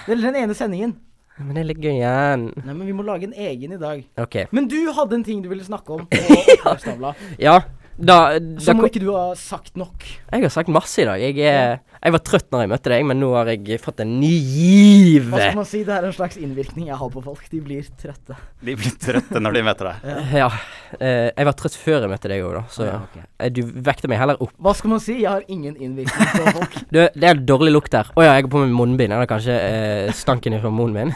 Speaker 6: Eller den ene sendingen.
Speaker 7: Men det ligger igjen.
Speaker 6: Nei, men vi må lage en egen i dag.
Speaker 7: OK.
Speaker 6: Men du hadde en ting du ville snakke om på oppslagstavla,
Speaker 7: Ja, da, da
Speaker 6: som ikke du har sagt nok.
Speaker 7: Jeg har sagt masse i dag. Jeg, er, jeg var trøtt når jeg møtte deg, men nå har jeg fått en ny giv.
Speaker 6: Hva skal man si? Det er en slags innvirkning jeg har på folk. De blir trøtte.
Speaker 8: De blir trøtte når de møter deg.
Speaker 7: Ja. eh, jeg var trøtt før jeg møtte deg òg, da. Så
Speaker 6: Ja, ok.
Speaker 7: eh, du vekte meg heller opp.
Speaker 6: Hva skal man si? Jeg har ingen innvirkning på folk.
Speaker 7: Du, det er dårlig lukt her. Å ja, jeg har på meg munnbind. Er det kanskje eh, stanken fra munnen min?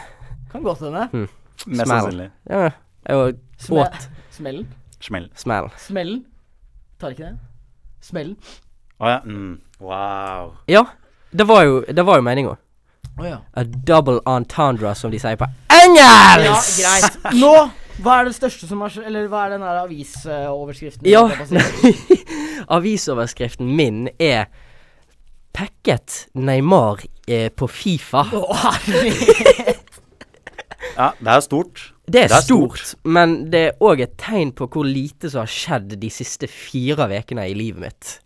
Speaker 6: Kan godt hende.
Speaker 8: Mest
Speaker 7: Smell.
Speaker 8: sannsynlig.
Speaker 7: Ja, jeg
Speaker 6: Sme-
Speaker 7: åt
Speaker 6: Smellen.
Speaker 8: Smell.
Speaker 7: smell.
Speaker 6: Smellen. Tar ikke det? Smellen.
Speaker 8: Å ja. Mm. Wow.
Speaker 7: Ja, det var jo, det var jo meninga.
Speaker 6: Å ja.
Speaker 7: A double entendre, som de sier på engelsk!
Speaker 6: greit. Nå, hva er det største som har skjedd? Eller hva er den her avisoverskriften?
Speaker 7: Ja,
Speaker 6: Jeg bare sier-
Speaker 7: nei Avisoverskriften min er 'Packet Neymar eh, på Fifa'.
Speaker 6: Å, herregud.
Speaker 8: Ja, det er stort.
Speaker 7: Det er,
Speaker 8: Det er
Speaker 7: stort,
Speaker 8: stort.
Speaker 7: men det er òg et tegn på hvor lite som har skjedd de siste fire ukene i livet mitt.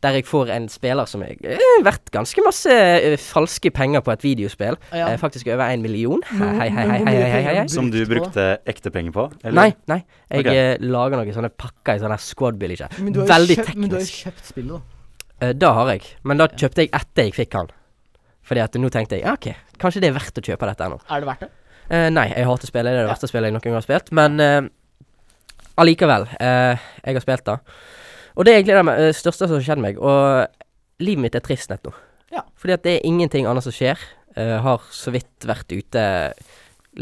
Speaker 7: Der jeg får en spiller som er eh, verdt ganske masse eh, falske penger på et videospill.
Speaker 6: Ja. Mm,
Speaker 7: Eh, faktisk over én million.
Speaker 6: Men-
Speaker 7: Hei, hei, hei,
Speaker 6: men
Speaker 7: hei,
Speaker 6: hvor mye
Speaker 7: hei, hei,
Speaker 6: penger
Speaker 7: hei,
Speaker 6: har
Speaker 7: hei.
Speaker 6: du
Speaker 8: Som du
Speaker 6: på det?
Speaker 8: brukte ekte penger på? Eller?
Speaker 7: Nei, nei. Jeg
Speaker 8: Ok.
Speaker 7: eh, lager noen sånne pakker i sånne squadbill, ikke.
Speaker 6: Men du har jo
Speaker 7: Veldig
Speaker 6: kjøpt- Men du har jo
Speaker 7: teknisk.
Speaker 6: kjøpt spillet, da.
Speaker 7: Eh, det har jeg, men da kjøpte jeg etter jeg fikk han. Fordi at nå tenkte jeg ja, ok, kanskje det er verdt å kjøpe dette ennå.
Speaker 6: Er det verdt det?
Speaker 7: Eh, nei, jeg hater spillet. Det er det verste spillet jeg noen gang har spilt. Men eh, allikevel. eh, jeg har spilt det. Og det er egentlig det me- eh, største som har skjedd meg. Og livet mitt er trist nett nå.
Speaker 6: Ja.
Speaker 7: Fordi at det er ingenting annet som skjer. Eh, har så vidt vært ute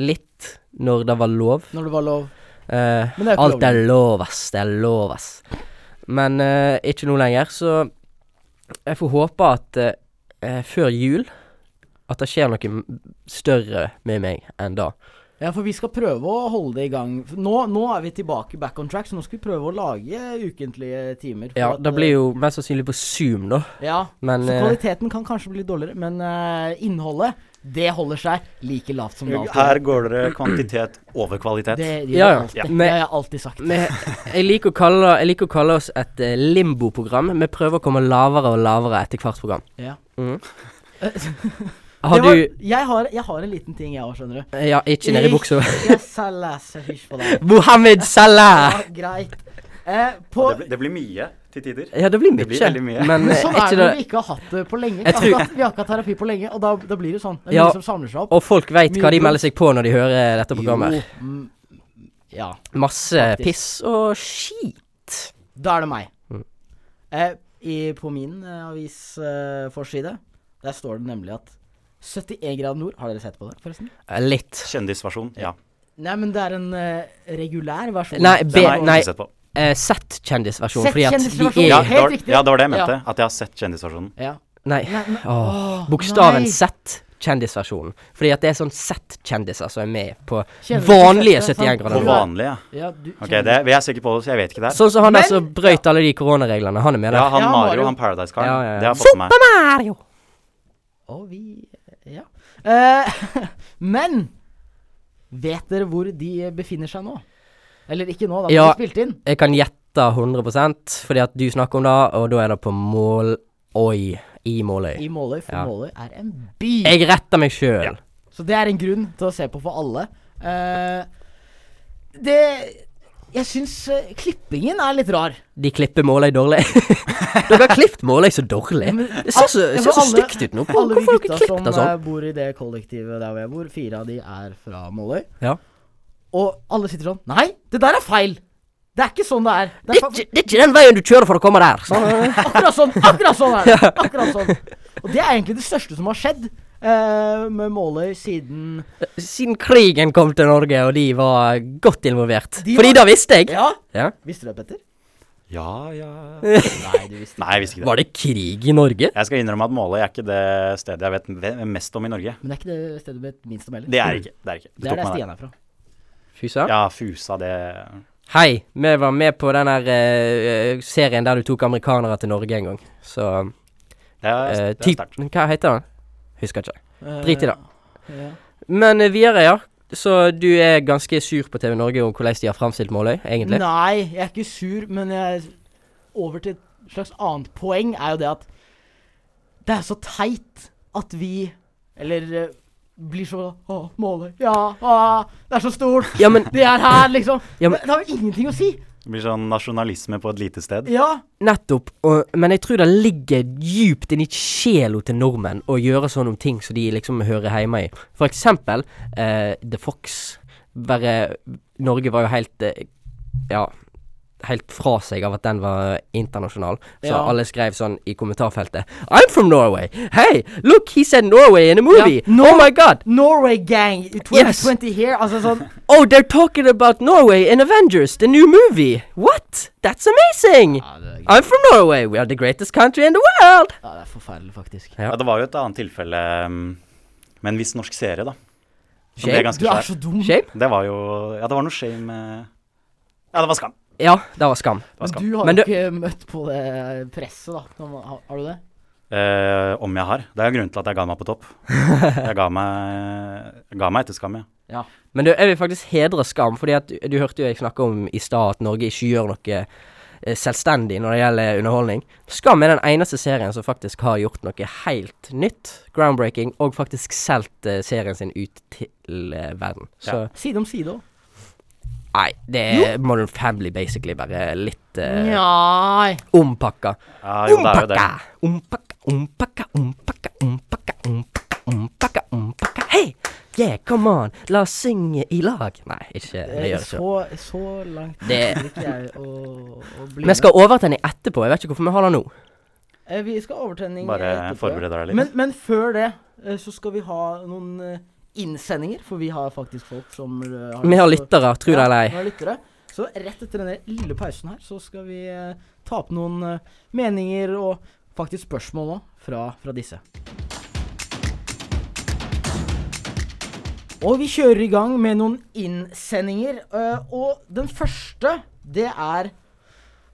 Speaker 7: litt når det var lov.
Speaker 6: Når det var lov?
Speaker 7: Eh,
Speaker 6: Men det er jo ikke
Speaker 7: Alt
Speaker 6: lov.
Speaker 7: er lov, ass. Det er lov, ass. Men eh, ikke nå lenger, så jeg får håpe at eh, eh, før jul at det skjer noe m- større med meg enn da.
Speaker 6: Ja, for vi skal prøve å holde det i gang. For Nå, nå er vi tilbake back on track, så nå skal vi prøve å lage ukentlige timer. for
Speaker 7: Ja,
Speaker 6: at,
Speaker 7: Det blir jo mest sannsynlig på Zoom, da.
Speaker 6: Ja,
Speaker 7: Men
Speaker 6: så
Speaker 7: eh,
Speaker 6: kvaliteten kan kanskje bli litt dårligere, men eh, innholdet, det holder seg like lavt som det alltid
Speaker 8: Her går dere kvantitet over kvalitet.
Speaker 6: Det
Speaker 7: Ja,
Speaker 6: gjør det
Speaker 7: ja.
Speaker 6: alltid.
Speaker 7: Ja.
Speaker 6: Det har jeg alltid sagt.
Speaker 7: vi, jeg, liker å kalle, jeg liker å kalle oss et eh, limbo-program. Vi prøver å komme lavere og lavere etter hvert program.
Speaker 6: Ja.
Speaker 7: Mhm.
Speaker 6: Det
Speaker 7: Har
Speaker 6: var,
Speaker 7: du
Speaker 6: jeg, har, jeg har en liten ting, jeg òg, skjønner du.
Speaker 7: Ja, ikke nedi buksa.
Speaker 6: Ikke Salah, så hysj på deg.
Speaker 7: Mohammed
Speaker 6: Ja,
Speaker 7: Salah!
Speaker 6: greit. Eh, på,
Speaker 8: Det, blir- det blir mye til tider.
Speaker 7: Ja, det blir mye.
Speaker 8: Det blir veldig mye.
Speaker 7: Men
Speaker 6: men
Speaker 7: eh, er
Speaker 6: sånn er det
Speaker 7: ikke det
Speaker 6: når vi ikke har hatt det på lenge. Vi
Speaker 7: Jeg
Speaker 6: har,
Speaker 7: tror-
Speaker 6: ikke hatt, vi har ikke hatt terapi på lenge, og da, da blir det sånn. Det er
Speaker 7: Ja,
Speaker 6: mye som samler seg opp.
Speaker 7: Og folk veit hva de
Speaker 6: Mye.
Speaker 7: melder seg på når de hører dette programmet.
Speaker 6: Jo, mm, ja.
Speaker 7: Masse
Speaker 6: Faktisk.
Speaker 7: piss og skit.
Speaker 6: Da er det meg.
Speaker 7: Mm.
Speaker 6: Eh, i, på min eh, avisforside, der står det nemlig at 71 grader nord Har dere sett på det, forresten?
Speaker 7: Eh, Litt.
Speaker 8: Kjendisversjon, ja.
Speaker 6: Nei, men det er en eh, regulær versjon.
Speaker 7: Nei,
Speaker 8: Den
Speaker 7: be,
Speaker 8: har jeg
Speaker 7: nei
Speaker 8: ikke sett på.
Speaker 7: eh, sett kjendisversjonen,
Speaker 6: Sett
Speaker 7: fordi at
Speaker 6: kjendisversjonen,
Speaker 7: vi er
Speaker 8: Ja, det var,
Speaker 6: helt riktig.
Speaker 8: ja, det var det jeg
Speaker 6: Ja.
Speaker 8: mente. At jeg har sett kjendisversjonen.
Speaker 6: Ja.
Speaker 7: Nei.
Speaker 6: Nei, men-
Speaker 7: Åh.
Speaker 6: Åh,
Speaker 7: Bokstaven
Speaker 6: nei.
Speaker 7: sett kjendisversjonen. Fordi at det er sånn sett kjendiser som er med på
Speaker 6: Kjendiser,
Speaker 7: vanlige 71
Speaker 6: sant?
Speaker 8: På
Speaker 7: grader.
Speaker 6: Hva-
Speaker 7: nord.
Speaker 8: vanlig, ja.
Speaker 6: Ja, du
Speaker 8: Ok,
Speaker 6: kjenner-
Speaker 8: det, jeg er sikker på det, så jeg vet ikke det. her.
Speaker 7: Sånn som han der som
Speaker 6: Men-
Speaker 7: brøyt alle de koronareglene. Han er med
Speaker 8: Ja,
Speaker 7: der.
Speaker 8: han
Speaker 6: Ja, Mario.
Speaker 8: Mario, han Paradise-karen.
Speaker 7: Ja, ja, ja.
Speaker 8: Det har jeg fått med meg.
Speaker 7: Mario!
Speaker 6: Og vi Ja. Eh, men vet dere hvor de befinner seg nå? Eller ikke nå, da, men
Speaker 7: Ja.
Speaker 6: de spilte inn.
Speaker 7: Jeg kan gjette 100 fordi at du snakker om det, og da er det på Måløy. I Måløy.
Speaker 6: I Måløy, for
Speaker 7: Ja.
Speaker 6: Måløy er en by.
Speaker 7: Jeg retter meg sjøl.
Speaker 6: Så det er en grunn til å se på for alle. Eh, det Jeg syns eh, klippingen er litt rar.
Speaker 7: De klipper Måløy dårlig. Dere har klippet Måløy så dårlig.
Speaker 6: Men-
Speaker 7: Det ser så,
Speaker 6: Ja,
Speaker 7: det ser
Speaker 6: for
Speaker 7: så
Speaker 6: Altså, alle-
Speaker 7: stygt ut nå. Hvorfor
Speaker 6: Alle vi
Speaker 7: har
Speaker 6: gutta
Speaker 7: dere
Speaker 6: som
Speaker 7: klippet det sånn?
Speaker 6: eh, bor i det kollektivet der hvor jeg bor, fire av de er fra Måløy.
Speaker 7: Ja.
Speaker 6: Og alle sitter sånn Nei, det der er feil! Det er ikke sånn det er. Det
Speaker 7: Det
Speaker 6: er
Speaker 7: er,
Speaker 6: fa-
Speaker 7: ikke, det er ikke den veien du kjører for å komme der. Sånn.
Speaker 6: akkurat sånn! Akkurat sånn er det! Akkurat sånn. Og det er egentlig det største som har skjedd eh, med Måløy siden
Speaker 7: Siden krigen kom til Norge, og de var godt involvert.
Speaker 6: De
Speaker 7: Fordi da
Speaker 6: var-
Speaker 7: visste jeg.
Speaker 6: Ja,
Speaker 7: Ja.
Speaker 6: visste du det, Petter?
Speaker 8: Ja, ja.
Speaker 6: Nei, du visste
Speaker 8: Nei, jeg visste ikke det.
Speaker 7: Var det krig i Norge?
Speaker 8: Jeg skal innrømme at Måløy er ikke det stedet jeg vet ve- mest om i Norge.
Speaker 6: Men det er ikke det stedet med minst om heller.
Speaker 8: Det er det ikke. Det er, det ikke. Du
Speaker 6: Det er
Speaker 8: tok
Speaker 6: der
Speaker 8: meg der.
Speaker 6: Stian er fra.
Speaker 7: Fy søren.
Speaker 8: Ja, Fusa, det
Speaker 7: Hei, vi var med på den her eh, serien der du tok amerikanere til Norge en gang. Så
Speaker 8: Det er,
Speaker 7: eh,
Speaker 8: det er
Speaker 7: typ,
Speaker 8: sterkt.
Speaker 7: Hva heter den? Husker ikke. Drit i det.
Speaker 6: Eh, Ja.
Speaker 7: Men eh, videre, ja. Så du er ganske sur på TV Norge om hvordan de har framstilt Måløy, egentlig?
Speaker 6: Nei, jeg er ikke sur, men jeg Over til et slags annet poeng er jo det at det er så teit at vi Eller eh, blir så Å, Måløy. Ja, å, det er så stort.
Speaker 7: Ja, men
Speaker 6: Det er her, liksom.
Speaker 7: Ja, men-
Speaker 6: men, det har jo ingenting å si.
Speaker 8: Det blir sånn nasjonalisme på et lite sted.
Speaker 6: Ja.
Speaker 7: Nettopp. Og, men jeg tror det ligger djupt inni sjela til nordmenn å gjøre sånne ting som de liksom hører hjemme i. For eksempel eh, The Fox. Bare Norge var jo helt eh, Ja. Helt fra seg av at den var internasjonal. Så
Speaker 6: Ja.
Speaker 7: alle skrev sånn i kommentarfeltet I'm from Norway! Hey, look, he said Norway in a movie!
Speaker 6: Ja,
Speaker 7: Oh my god!
Speaker 6: Norway Gang i 2020 here. Altså sånn
Speaker 7: Oh, they're talking about Norway in Avengers, the new movie! What? That's amazing! I'm from Norway! We are the greatest country in the world!
Speaker 6: Ja, det er forferdelig, faktisk.
Speaker 7: Ja.
Speaker 8: Ja, det var jo et annet tilfelle mm, med en viss norsk serie, da. Som ble
Speaker 7: Shame.
Speaker 8: ganske
Speaker 6: Du
Speaker 8: svær.
Speaker 6: er så dum.
Speaker 7: Shape?
Speaker 8: Det var jo Ja, det var noe shame eh. Ja, det var skam.
Speaker 7: Ja, det var skam.
Speaker 8: Det var
Speaker 6: Men
Speaker 8: skam.
Speaker 6: du har
Speaker 7: Men
Speaker 6: jo
Speaker 7: du-
Speaker 6: ikke møtt på det presset, da. Kan man- Har, har du det?
Speaker 8: Eh, om jeg har. Det er grunnen til at jeg ga meg på topp. Jeg ga meg, jeg ga meg etter skam, ja.
Speaker 7: Men du, jeg vil faktisk hedre skam, fordi at du, du hørte jo jeg snakke om i stad at Norge ikke gjør noe eh, selvstendig når det gjelder underholdning. Skam er den eneste serien som faktisk har gjort noe helt nytt, groundbreaking, og faktisk solgt eh, serien sin ut til eh, verden. Så
Speaker 6: Side om side òg.
Speaker 7: nei, det er Modern Family basically bare litt eh,
Speaker 6: Nei.
Speaker 7: ompakka.
Speaker 8: Ja, jo, det er jo det.
Speaker 7: Ompakka, ompakka, ompakka, ompakka, ompakka, ompakka. Yeah, come on, la oss synge i lag. Nei, ikke
Speaker 8: Eh,
Speaker 7: det gjør ikke.
Speaker 6: Så, så langt
Speaker 7: Det-
Speaker 6: gikk jeg å, å bli
Speaker 7: Vi skal ha overtenning etterpå. Jeg vet ikke hvorfor vi har det nå.
Speaker 6: med. Eh, Vi skal ha overtenning
Speaker 8: Bare
Speaker 6: etterpå, ja.
Speaker 8: forbered deg litt.
Speaker 6: Men, men før det eh, så skal vi ha noen eh, innsendinger, for vi har faktisk folk som eh,
Speaker 7: Vi har lyttere, tro det
Speaker 6: Ja,
Speaker 7: eller
Speaker 6: vi
Speaker 7: ei.
Speaker 6: har lyttere. Så rett etter denne lille pausen her, så skal vi eh, ta opp noen eh, meninger og faktisk spørsmål nå fra, fra disse. Og vi kjører i gang med noen innsendinger, eh, og den første, det er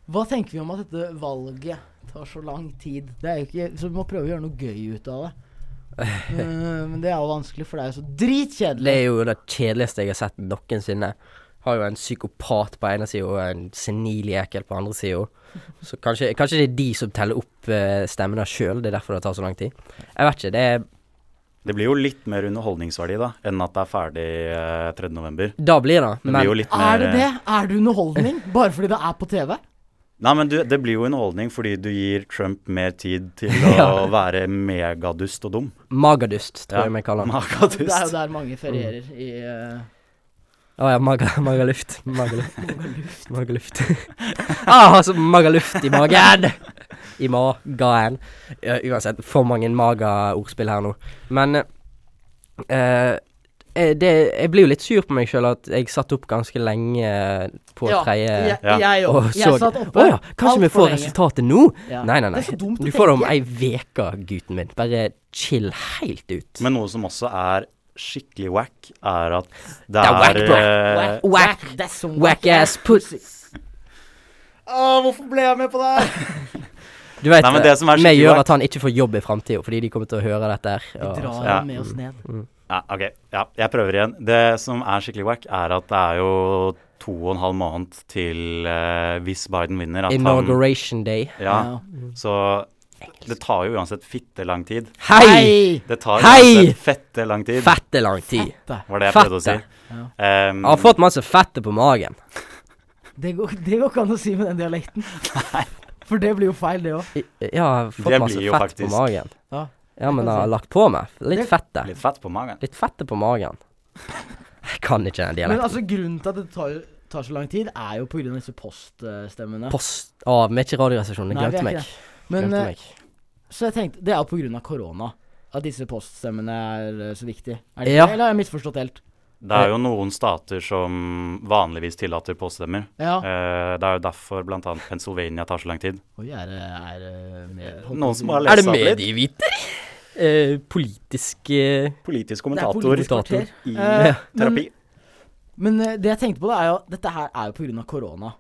Speaker 6: Hva tenker vi om at dette valget tar så lang tid? Det er jo ikke, så vi må prøve å gjøre noe gøy ut av det. Eh, men det er jo vanskelig, for det er jo så dritkjedelig.
Speaker 7: Det er jo det kjedeligste jeg har sett noensinne. Har jo en psykopat på ene sida og en senil jekel på andre sida. Så kanskje, kanskje det er de som teller opp eh, stemmene sjøl, det er derfor det tar så lang tid. Jeg vet ikke, det er
Speaker 8: Det blir jo litt mer underholdningsverdi da, enn at det er ferdig eh, 3. november.
Speaker 7: Da blir det,
Speaker 8: Det
Speaker 7: men
Speaker 8: blir jo litt mer eh,
Speaker 7: eh,
Speaker 6: Er det det? Er det underholdning? Bare fordi det er på TV?
Speaker 8: Nei, men du, det blir jo underholdning fordi du gir Trump mer tid til å
Speaker 7: Ja.
Speaker 8: være megadust og dum.
Speaker 7: magadust, tror
Speaker 8: Ja,
Speaker 7: jeg vi kaller den.
Speaker 6: Det er jo
Speaker 8: Megadust.
Speaker 6: der mange ferierer
Speaker 7: Mm.
Speaker 6: i eh,
Speaker 7: Å ja, maga, magaluft. Magaluft. magaluft. ah, altså, magaluft i magen! I magaen. Ja, uansett, for mange maga-ordspill her nå. Men eh, eh, det, jeg blir jo litt sur på meg sjøl at jeg satt opp ganske lenge eh, på tredje
Speaker 6: jeg,
Speaker 8: Ja.
Speaker 6: jeg òg.
Speaker 7: og
Speaker 6: Jeg
Speaker 7: så-
Speaker 6: satt oppe
Speaker 7: Å ja, kanskje
Speaker 6: alt
Speaker 7: vi
Speaker 6: for
Speaker 7: får
Speaker 6: lenge.
Speaker 7: resultatet nå?
Speaker 6: Ja.
Speaker 7: Nei, nei, nei.
Speaker 6: Det er så dumt å
Speaker 7: du får det om
Speaker 6: tenke.
Speaker 7: ei veke, gutten min. Bare chill helt ut.
Speaker 8: Men noe som også er skikkelig wack, er at det
Speaker 7: er
Speaker 8: er,
Speaker 7: whack, bro.
Speaker 8: eh,
Speaker 7: Whack.
Speaker 6: that's some
Speaker 7: Whack ass pussy.
Speaker 6: Å, hvorfor ble jeg med på det her?
Speaker 7: Du vet,
Speaker 8: Nei, men det som er
Speaker 7: vi
Speaker 8: skikkelig
Speaker 7: gjør
Speaker 8: verdt-
Speaker 7: at han ikke får jobb i framtida, fordi de kommer til å høre dette her.
Speaker 6: Vi
Speaker 7: og-
Speaker 6: drar
Speaker 8: Ja.
Speaker 6: med oss ned.
Speaker 8: Ja, ok. Ja, jeg prøver igjen. Det som er skikkelig wack, er at det er jo to og en halv måned til eh, hvis Biden vinner. At han,
Speaker 7: Inauguration day.
Speaker 8: ja, så det tar jo uansett fitte lang tid.
Speaker 7: Hei!
Speaker 8: Det tar
Speaker 7: Hei!
Speaker 8: uansett fette lang tid,
Speaker 7: Fette lang tid.
Speaker 8: var det jeg prøvde å si.
Speaker 7: fette. Han
Speaker 8: Ehm,
Speaker 7: har fått masse fette på magen.
Speaker 6: Det går, det går ikke an å si med den dialekten. For det blir jo feil, det òg.
Speaker 7: I- Ja, har fått
Speaker 8: Det
Speaker 7: masse
Speaker 8: blir jo
Speaker 7: fett på
Speaker 8: faktisk-
Speaker 7: magen.
Speaker 6: Ja.
Speaker 7: Ja, men han har lagt på meg. Litt
Speaker 6: Det-
Speaker 7: fette.
Speaker 8: litt fett på magen.
Speaker 7: Litt fette på magen. Jeg kan ikke den
Speaker 6: Men
Speaker 7: dialekten.
Speaker 6: altså, grunnen til at det tar, tar så lang tid, er jo pga. disse poststemmene.
Speaker 7: Post Å, vi er ikke i Radioresepsjonen.
Speaker 6: Nei, vi er
Speaker 7: Glemte meg.
Speaker 6: ikke Men,
Speaker 7: Glemte
Speaker 6: eh,
Speaker 7: meg.
Speaker 6: Så jeg tenkte, det er jo pga. korona at disse poststemmene er eh, så viktige. Er det
Speaker 7: Ja.
Speaker 6: ikke det, eller har jeg misforstått helt?
Speaker 8: Det er jo noen stater som vanligvis tillater påstemmer.
Speaker 6: Ja.
Speaker 8: Eh, det er jo derfor bl.a. Pennsylvania tar så lang tid.
Speaker 6: Oi, er det er, det mer
Speaker 8: Noen som har
Speaker 7: Er det
Speaker 8: lest opp litt.
Speaker 7: medieviter? Eh, politisk eh,
Speaker 8: Politisk
Speaker 6: Det er
Speaker 8: kommentator
Speaker 6: politisk kvarter.
Speaker 8: i
Speaker 6: Eh,
Speaker 8: terapi.
Speaker 6: Men eh, det jeg tenkte på, da, er jo at dette her er jo pga. korona.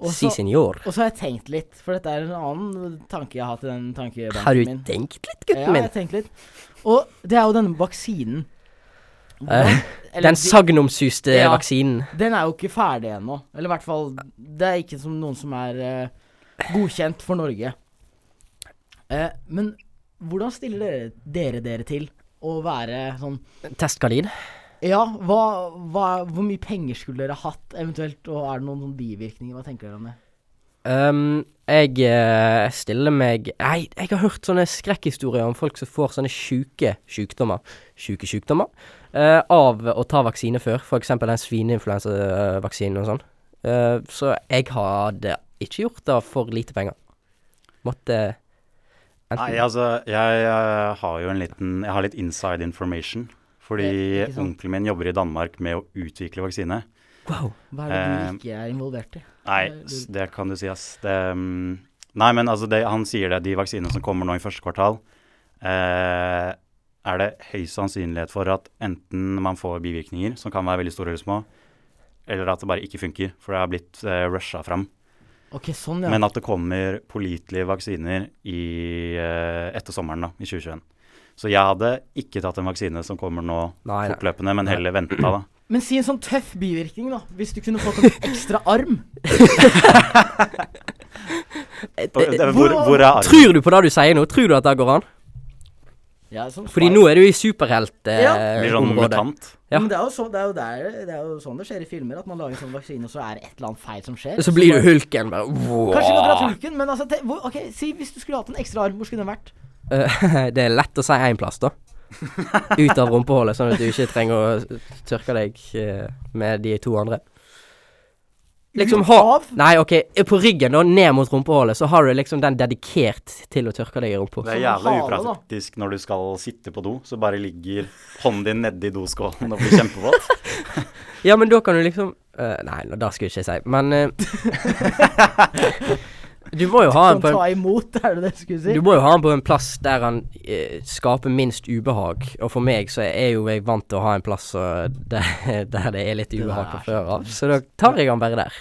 Speaker 6: Og
Speaker 7: Si
Speaker 6: så,
Speaker 7: senor.
Speaker 6: og så har jeg tenkt litt, for dette er en annen tanke jeg har hatt i den
Speaker 7: Har du
Speaker 6: tankebanken min.
Speaker 7: tenkt litt,
Speaker 6: Ja,
Speaker 7: gutten
Speaker 6: jeg
Speaker 7: min?
Speaker 6: har tenkt litt. Og det er jo denne vaksinen.
Speaker 7: Eh,
Speaker 6: Eller
Speaker 7: Den
Speaker 6: de-
Speaker 7: sagnomsuste
Speaker 6: Ja.
Speaker 7: vaksinen.
Speaker 6: den er jo ikke ferdig ennå. Eller i hvert fall Det er ikke som noen som er eh, godkjent for Norge. Eh, men hvordan stiller dere, dere dere til å være sånn
Speaker 7: Testkanin.
Speaker 6: Ja, hva, hva, hvor mye penger skulle dere hatt eventuelt, og er det noen sånn bivirkninger? Hva tenker dere om det?
Speaker 7: Ehm, jeg eh, stiller meg Nei, jeg har hørt sånne skrekkhistorier om folk som får sånne sjuke sykdommer. Sjuke sykdommer. eh, av å ta vaksine før. For eksempel den svineinfluensavaksinen og sånn. Eh, så jeg hadde ikke gjort det for lite penger. Måtte
Speaker 8: Nei, altså, jeg, eh, har jo en liten Jeg har litt inside information. Fordi
Speaker 6: Ikke sant.
Speaker 8: onkelen min jobber i Danmark med å utvikle vaksine.
Speaker 7: Wow.
Speaker 6: Hva er det
Speaker 8: Eh,
Speaker 6: du ikke er involvert i?
Speaker 8: Nei, s- det kan du si, ass. Det, mm, nei, men altså, det, han sier det. De vaksinene som kommer nå i første kvartal, eh, er det høy sannsynlighet for at enten man får bivirkninger, som kan være veldig store eller små, eller at det bare ikke funker, for det har blitt eh, rusha fram.
Speaker 6: Ok, sånn, ja.
Speaker 8: Men at det kommer pålitelige vaksiner i, eh, etter sommeren, da, i 2021. Så jeg hadde ikke tatt en vaksine som kommer nå
Speaker 7: Nei, nei.
Speaker 8: fortløpende, men heller venta, da.
Speaker 6: Men si en sånn tøff bivirkning, da. Hvis du kunne fått en ekstra arm.
Speaker 8: Hvor, hvor er armen?
Speaker 7: Tror du på det du sier nå? Tror du at det går an?
Speaker 6: Ja, sånn
Speaker 7: Fordi
Speaker 6: spar-
Speaker 7: nå er du i eh, superheltområdet.
Speaker 6: Ja.
Speaker 8: Blir sånn mutant.
Speaker 7: ja.
Speaker 6: Men det er, jo så, det, er jo der, det er jo sånn det skjer i filmer, at man lager en sånn vaksine, og så er det et eller annet feil som skjer.
Speaker 7: så blir du hulken. Bare, wow.
Speaker 6: Kanskje ikke dratt hulken, men altså te, hvor, Ok, si hvis du skulle hatt en ekstra arm, hvor skulle den vært?
Speaker 7: Eh, det er lett å si én plass, da. ut av rumpehullet, sånn at du ikke trenger å tørke deg eh, med de to andre. Liksom ha
Speaker 6: Ut av?
Speaker 7: Nei, OK, på ryggen og ned mot rumpehullet, så har du liksom den dedikert til å tørke deg i rumpa.
Speaker 8: Det er
Speaker 6: Som
Speaker 8: jævla
Speaker 6: hale, da.
Speaker 8: upraktisk når du skal sitte på do, så bare ligger hånden din nedi doskålen og blir kjempevåt.
Speaker 7: Ja, men da kan du liksom eh, Nei, nå, da skulle jeg ikke si Men eh, Du må jo ha Ah,
Speaker 6: Kan
Speaker 7: en på en
Speaker 6: Sånn, ta imot, er det det jeg skulle si?
Speaker 7: Du må jo ha han på en plass der han eh, skaper minst ubehag. Og for meg så er jo jeg vant til å ha en plass eh, der, der det er litt ubehag fra før av. Så da tar jeg han bare der.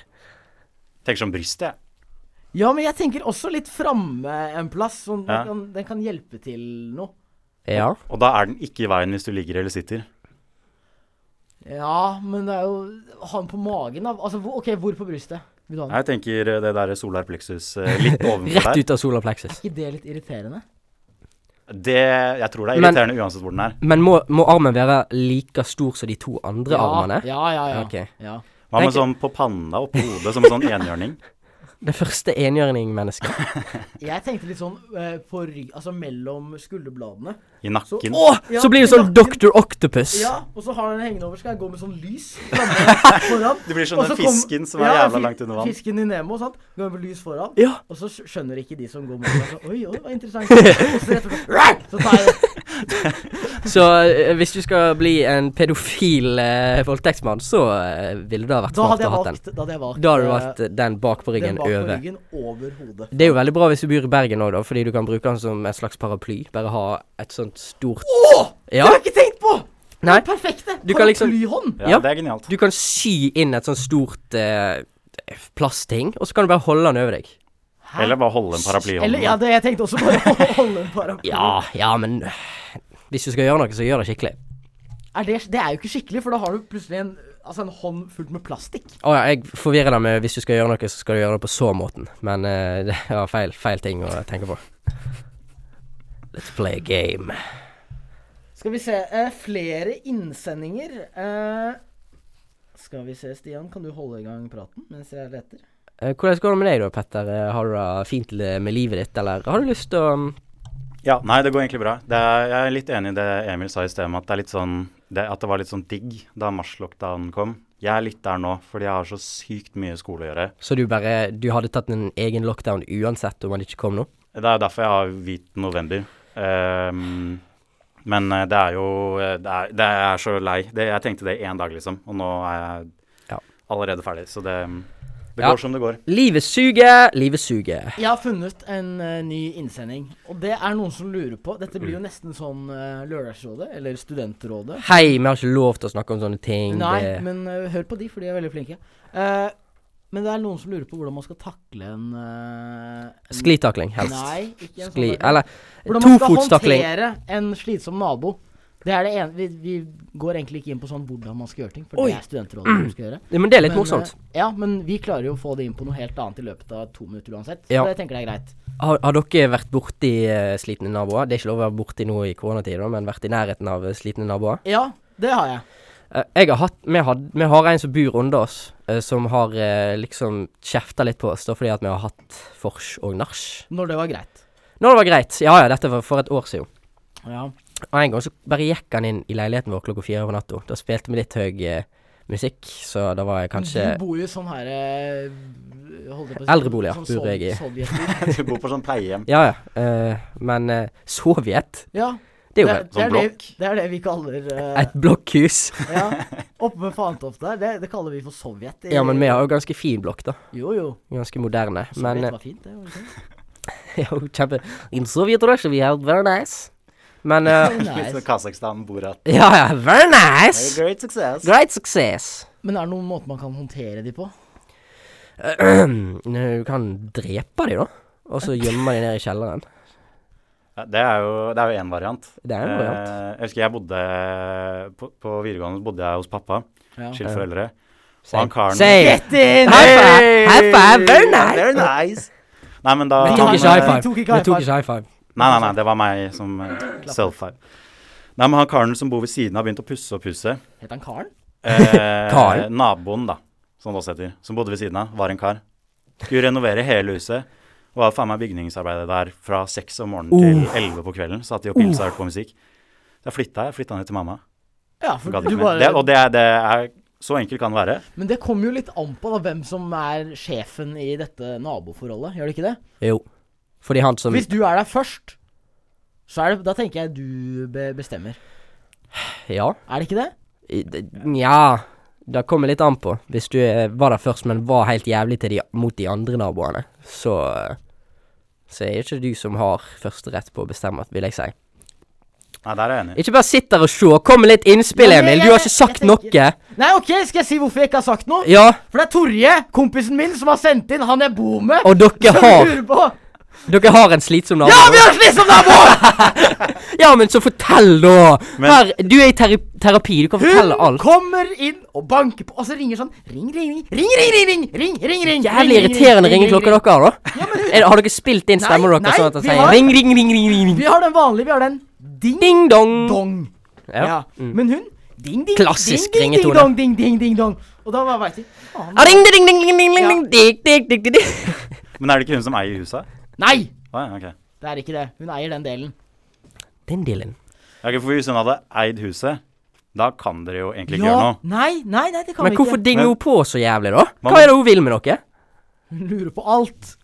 Speaker 8: Tenker som brystet, jeg.
Speaker 6: Ja, men jeg tenker også litt framme en plass. Sånn,
Speaker 8: Ja.
Speaker 6: den, kan, den kan hjelpe til noe.
Speaker 7: Ja.
Speaker 8: Og da er den ikke i veien hvis du ligger eller sitter.
Speaker 6: Ja, men det er jo Ha den på magen, da. Altså, hvor, OK, hvor på brystet? Vil du ha den?
Speaker 8: Jeg tenker eh, det der solar plexus eh, litt ovenfor
Speaker 7: Rett
Speaker 8: der.
Speaker 7: ut av sola plexus.
Speaker 6: Ikke det litt irriterende?
Speaker 8: Det, jeg tror det er
Speaker 7: Men-
Speaker 8: irriterende uansett hvor den er.
Speaker 7: Men må, må armen være like stor som de to andre armene?
Speaker 6: Ja, ja, ja.
Speaker 7: Ok.
Speaker 6: ja.
Speaker 8: Hva med
Speaker 7: Tenker-
Speaker 8: sånn på panna og på hodet, som en sånn enhjørning?
Speaker 7: Det første enhjørningmennesket.
Speaker 6: Jeg tenkte litt sånn eh, på rygg Altså mellom skulderbladene.
Speaker 8: I nakken.
Speaker 7: Å!
Speaker 6: Ja,
Speaker 7: så blir det
Speaker 6: i
Speaker 7: sånn
Speaker 6: nakken.
Speaker 7: Dr. Octopus.
Speaker 6: Ja, og så har den hengende over, skal jeg gå med sånn lys flamme foran.
Speaker 8: Det blir sånn
Speaker 6: og
Speaker 8: den
Speaker 6: så kom-
Speaker 8: fisken som er jævla
Speaker 6: fi-
Speaker 8: langt under vann.
Speaker 6: Fisken i Nemo, sant. Går med lys foran.
Speaker 7: Ja.
Speaker 6: Og så skj- skjønner ikke de som går mot meg, så Oi, oi, det var interessant. Og så rett og slett Så tar jeg det.
Speaker 7: Så eh, hvis du skal bli en pedofil eh, voldtektsmann, så eh, ville det ha vært
Speaker 6: Da
Speaker 7: smart
Speaker 6: hadde jeg
Speaker 7: å ha den.
Speaker 6: valgt Da hadde jeg valgt,
Speaker 7: Da har du
Speaker 6: eh,
Speaker 7: valgt eh, den bak på
Speaker 6: den
Speaker 7: ryggen,
Speaker 6: bak på
Speaker 7: over.
Speaker 6: ryggen over hodet.
Speaker 7: Det er jo veldig bra hvis du bor i Bergen òg, da, fordi du kan bruke den som et slags paraply. Bare ha et sånt stort
Speaker 6: Det
Speaker 7: Ja.
Speaker 6: har jeg ikke tenkt på!
Speaker 7: Nei.
Speaker 6: Perfekte!
Speaker 7: Du kan liksom-
Speaker 6: Paraplyhånd.
Speaker 8: Ja,
Speaker 7: Ja.
Speaker 8: det er genialt.
Speaker 7: Du kan sy inn et sånt stort eh, plastting, og så kan du bare holde den over deg.
Speaker 8: Eller bare holde en paraply i
Speaker 6: Eller, ja,
Speaker 8: hånden.
Speaker 6: det, jeg tenkte også bare å holde en paraply.
Speaker 7: Ja, ja, men øh, Hvis du skal gjøre noe, så gjør det skikkelig.
Speaker 6: Er det, det er jo ikke skikkelig, for da har du plutselig en, altså en hånd fullt med plastikk.
Speaker 7: Å ja, jeg forvirrer deg med hvis du skal gjøre noe, så skal du gjøre det på så måten. Men eh, det var feil, feil ting å tenke på. Let's play a game.
Speaker 6: Skal vi se. eh, flere innsendinger. Eh, skal vi se, Stian. Kan du holde i gang praten mens jeg leter?
Speaker 7: Eh, hvordan går det med deg da, Petter? Eh, Har du det fint med livet ditt, eller har du lyst til å mm,
Speaker 8: Ja, nei, det går egentlig bra. Det er, jeg er litt enig i det Emil sa i sted, med at det, er litt sånn, det, at det var litt sånn digg da mars-lockdown kom. Jeg er litt der nå, fordi jeg har så sykt mye skole å gjøre.
Speaker 7: Så du bare Du hadde tatt en egen lockdown uansett om han ikke kom nå?
Speaker 8: Det er jo derfor jeg har hvit november. Ehm, men eh, det er jo eh, det er, det er Jeg er så lei. Det, jeg tenkte det i én dag, liksom. Og nå er jeg
Speaker 7: Ja.
Speaker 8: allerede ferdig. Så det, mm, det
Speaker 7: Ja.
Speaker 8: går som det går.
Speaker 7: Livet suger, livet suger.
Speaker 6: Jeg har funnet en eh, ny innsending. Og det er noen som lurer på Dette
Speaker 7: Mm.
Speaker 6: blir jo nesten sånn eh, Lørdagsrådet, eller Studentrådet.
Speaker 7: Hei, vi har ikke lov til å snakke om sånne ting.
Speaker 6: Nei,
Speaker 7: det-
Speaker 6: men eh, hør på de, for de er veldig flinke. Eh, men det er noen som lurer på hvordan man skal takle en, eh, en
Speaker 7: Sklitakling, helst.
Speaker 6: Nei, ikke
Speaker 7: Skli
Speaker 6: en sånn takling.
Speaker 7: Eller
Speaker 6: Hvordan man skal
Speaker 7: tofotstakling.
Speaker 6: håndtere en slitsom nabo. Det er det ene vi, vi går egentlig ikke inn på sånn hvordan man skal gjøre ting, for
Speaker 7: Oi.
Speaker 6: det er studentrådet som skal gjøre.
Speaker 7: Ja, Men det er litt
Speaker 6: Men,
Speaker 7: morsomt.
Speaker 6: eh, Ja, men vi klarer jo å få det inn på noe helt annet i løpet av to minutter uansett. Så
Speaker 7: Ja.
Speaker 6: jeg tenker det er greit.
Speaker 7: Har, har dere vært borti eh, slitne naboer? Det er ikke lov å være borti noe i koronatid, da, men vært i nærheten av eh, slitne naboer?
Speaker 6: Ja, det har jeg.
Speaker 7: Eh, jeg har hatt, vi, had, vi har en som bor under oss, eh, som har eh, liksom kjefta litt på oss da, fordi at vi har hatt vors og nach.
Speaker 6: Når det var greit.
Speaker 7: Når det var greit. Ja ja, dette var for et år siden.
Speaker 6: Ja.
Speaker 7: Og en gang så bare gikk han inn i leiligheten vår klokka fire på natta. Da spilte vi litt høy eh, musikk, så da var jeg kanskje
Speaker 6: Du bor jo i sånn her eh, holdt jeg på å si,
Speaker 7: Eldreboliger
Speaker 6: sånn
Speaker 7: bor jeg i.
Speaker 6: sov- sovjetbygg.
Speaker 8: Du bor på sånn pleiehjem.
Speaker 7: Ja ja. eh, men eh, Sovjet,
Speaker 6: Ja,
Speaker 7: det er jo
Speaker 6: det, det,
Speaker 8: Sånn
Speaker 6: er det,
Speaker 8: blokk.
Speaker 6: det er det vi kaller eh,
Speaker 7: et blokkhus.
Speaker 6: ja, Oppe med Fantoft der, det, det kaller vi for Sovjet. i-
Speaker 7: Ja, men vi har jo ganske fin blokk, da.
Speaker 6: Jo, jo.
Speaker 7: Ganske moderne.
Speaker 6: Sovjet
Speaker 7: Men eh,
Speaker 6: var fint, det. var det ikke?
Speaker 7: ja, kjempe In Soviet Russia we have very nice. Men eh,
Speaker 8: Litt som
Speaker 6: Nice.
Speaker 8: Kasakhstan bor at
Speaker 7: Ja ja, very nice.
Speaker 8: Great success.
Speaker 7: Great success.
Speaker 6: Men er det noen måte man kan håndtere de på?
Speaker 7: Nei, Du kan drepe de da. Og så gjemme de ned i kjelleren.
Speaker 8: Ja, Det er jo det er jo én variant.
Speaker 7: Det er en variant.
Speaker 8: Eh, jeg husker jeg bodde på, på videregående så bodde jeg hos pappa.
Speaker 6: Ja.
Speaker 8: Skilt foreldre. Og
Speaker 7: Same.
Speaker 8: han karen
Speaker 7: Same.
Speaker 6: Rett inn!
Speaker 7: High five! High five! Very nice!
Speaker 8: Very nice. Nei, men da
Speaker 7: Vi
Speaker 6: tok
Speaker 7: tok
Speaker 8: han,
Speaker 7: ikke high
Speaker 8: eh,
Speaker 7: five.
Speaker 6: Vi tok ikke
Speaker 7: Vi
Speaker 6: high
Speaker 7: tok ikke high five.
Speaker 8: Nei, nei, nei, det var meg som self-five. Nei, men han karen som bor ved siden av, begynte å pusse opp huset.
Speaker 6: Het han Karen?
Speaker 8: Eh,
Speaker 7: Karen?
Speaker 8: naboen, da, som det også heter, som bodde ved siden av, var en kar. Skulle renovere hele huset. Og var faen meg bygningsarbeidet der fra seks om morgenen til elleve på kvelden. Satt de og pilsa og hørte på musikk. Så jeg flytta, jeg flytta ned til mamma.
Speaker 6: Ja, for
Speaker 8: Gadd
Speaker 6: du
Speaker 8: ikke mer.
Speaker 6: bare,
Speaker 8: Det, og det, er- det er Så enkelt kan det være.
Speaker 6: Men det kommer jo litt an på da, hvem som er sjefen i dette naboforholdet, gjør det ikke det?
Speaker 7: Jo. Fordi han som
Speaker 6: Hvis du er der først, så er det, da tenker jeg du be bestemmer.
Speaker 7: Ja.
Speaker 6: Er det ikke det?
Speaker 7: I- det- Nja Det kommer litt an på. Hvis du eh, var der først, men var helt jævlig til de, mot de andre naboene, så eh, Så er det ikke du som har førsterett på å bestemme, vil jeg si.
Speaker 8: Nei, der er jeg enig.
Speaker 7: Ikke bare sitt der og se. Kom med litt innspill,
Speaker 6: Ja, ja,
Speaker 7: Emil.
Speaker 6: ja,
Speaker 7: Du har
Speaker 6: ja,
Speaker 7: ikke sagt
Speaker 6: jeg tenker-
Speaker 7: noe.
Speaker 6: Nei, ok, skal jeg si hvorfor jeg ikke har sagt noe?
Speaker 7: Ja,
Speaker 6: For det er Torje, kompisen min, som har sendt inn han jeg bor med.
Speaker 7: og dere
Speaker 6: som
Speaker 7: har
Speaker 6: lurer på
Speaker 7: Dere har en slitsom nabo.
Speaker 6: Ja, vi har slitt som nabo!
Speaker 7: Ja, men så fortell, da!
Speaker 8: Men-
Speaker 7: Her, du er i teri- terapi. Du kan
Speaker 6: Hun
Speaker 7: fortelle alt.
Speaker 6: kommer inn og banker på, og så ringer sånn Ring, ring, ring, ring, ring, ring, ring, ring, ring, ring
Speaker 7: Jævlig irriterende ringeklokker dere har, da. Er, har dere spilt inn stemmer
Speaker 6: Nei,
Speaker 7: dere sånn at
Speaker 6: nei,
Speaker 7: det
Speaker 6: vi
Speaker 7: sier
Speaker 6: har-
Speaker 7: ring, ring, ring, ring, ring,
Speaker 6: Vi
Speaker 7: ring.
Speaker 6: har den vanlige, vi har den ding,
Speaker 7: Ding dong.
Speaker 6: dong.
Speaker 7: Ja. Mm.
Speaker 6: Men hun ding, ding,
Speaker 7: Klassisk
Speaker 6: ding, ding, ding,
Speaker 7: ringetone.
Speaker 6: dong, ding, ding, ding, dong. Og da bare veit de faen.
Speaker 7: Ah, Ring, ding, ding, ding, ding, ding, ding, dik, dik, dik, dik, dik.
Speaker 8: Men er det ikke hun som eier huset?
Speaker 6: Nei!
Speaker 8: Å, ja, ok.
Speaker 6: Det er ikke det. Hun eier den delen.
Speaker 7: Den dealen.
Speaker 8: Ja, ok, for Hvis hun hadde eid huset, da kan dere jo egentlig ikke gjøre noe.
Speaker 6: Nei, nei, nei, det kan
Speaker 7: Men
Speaker 6: vi
Speaker 7: hvorfor
Speaker 6: ikke.
Speaker 7: dinger hun
Speaker 8: Men-
Speaker 7: på så jævlig, da?
Speaker 8: Hva
Speaker 7: Hva
Speaker 8: med-
Speaker 7: er det hun vil med dere?
Speaker 6: Hun lurer på alt.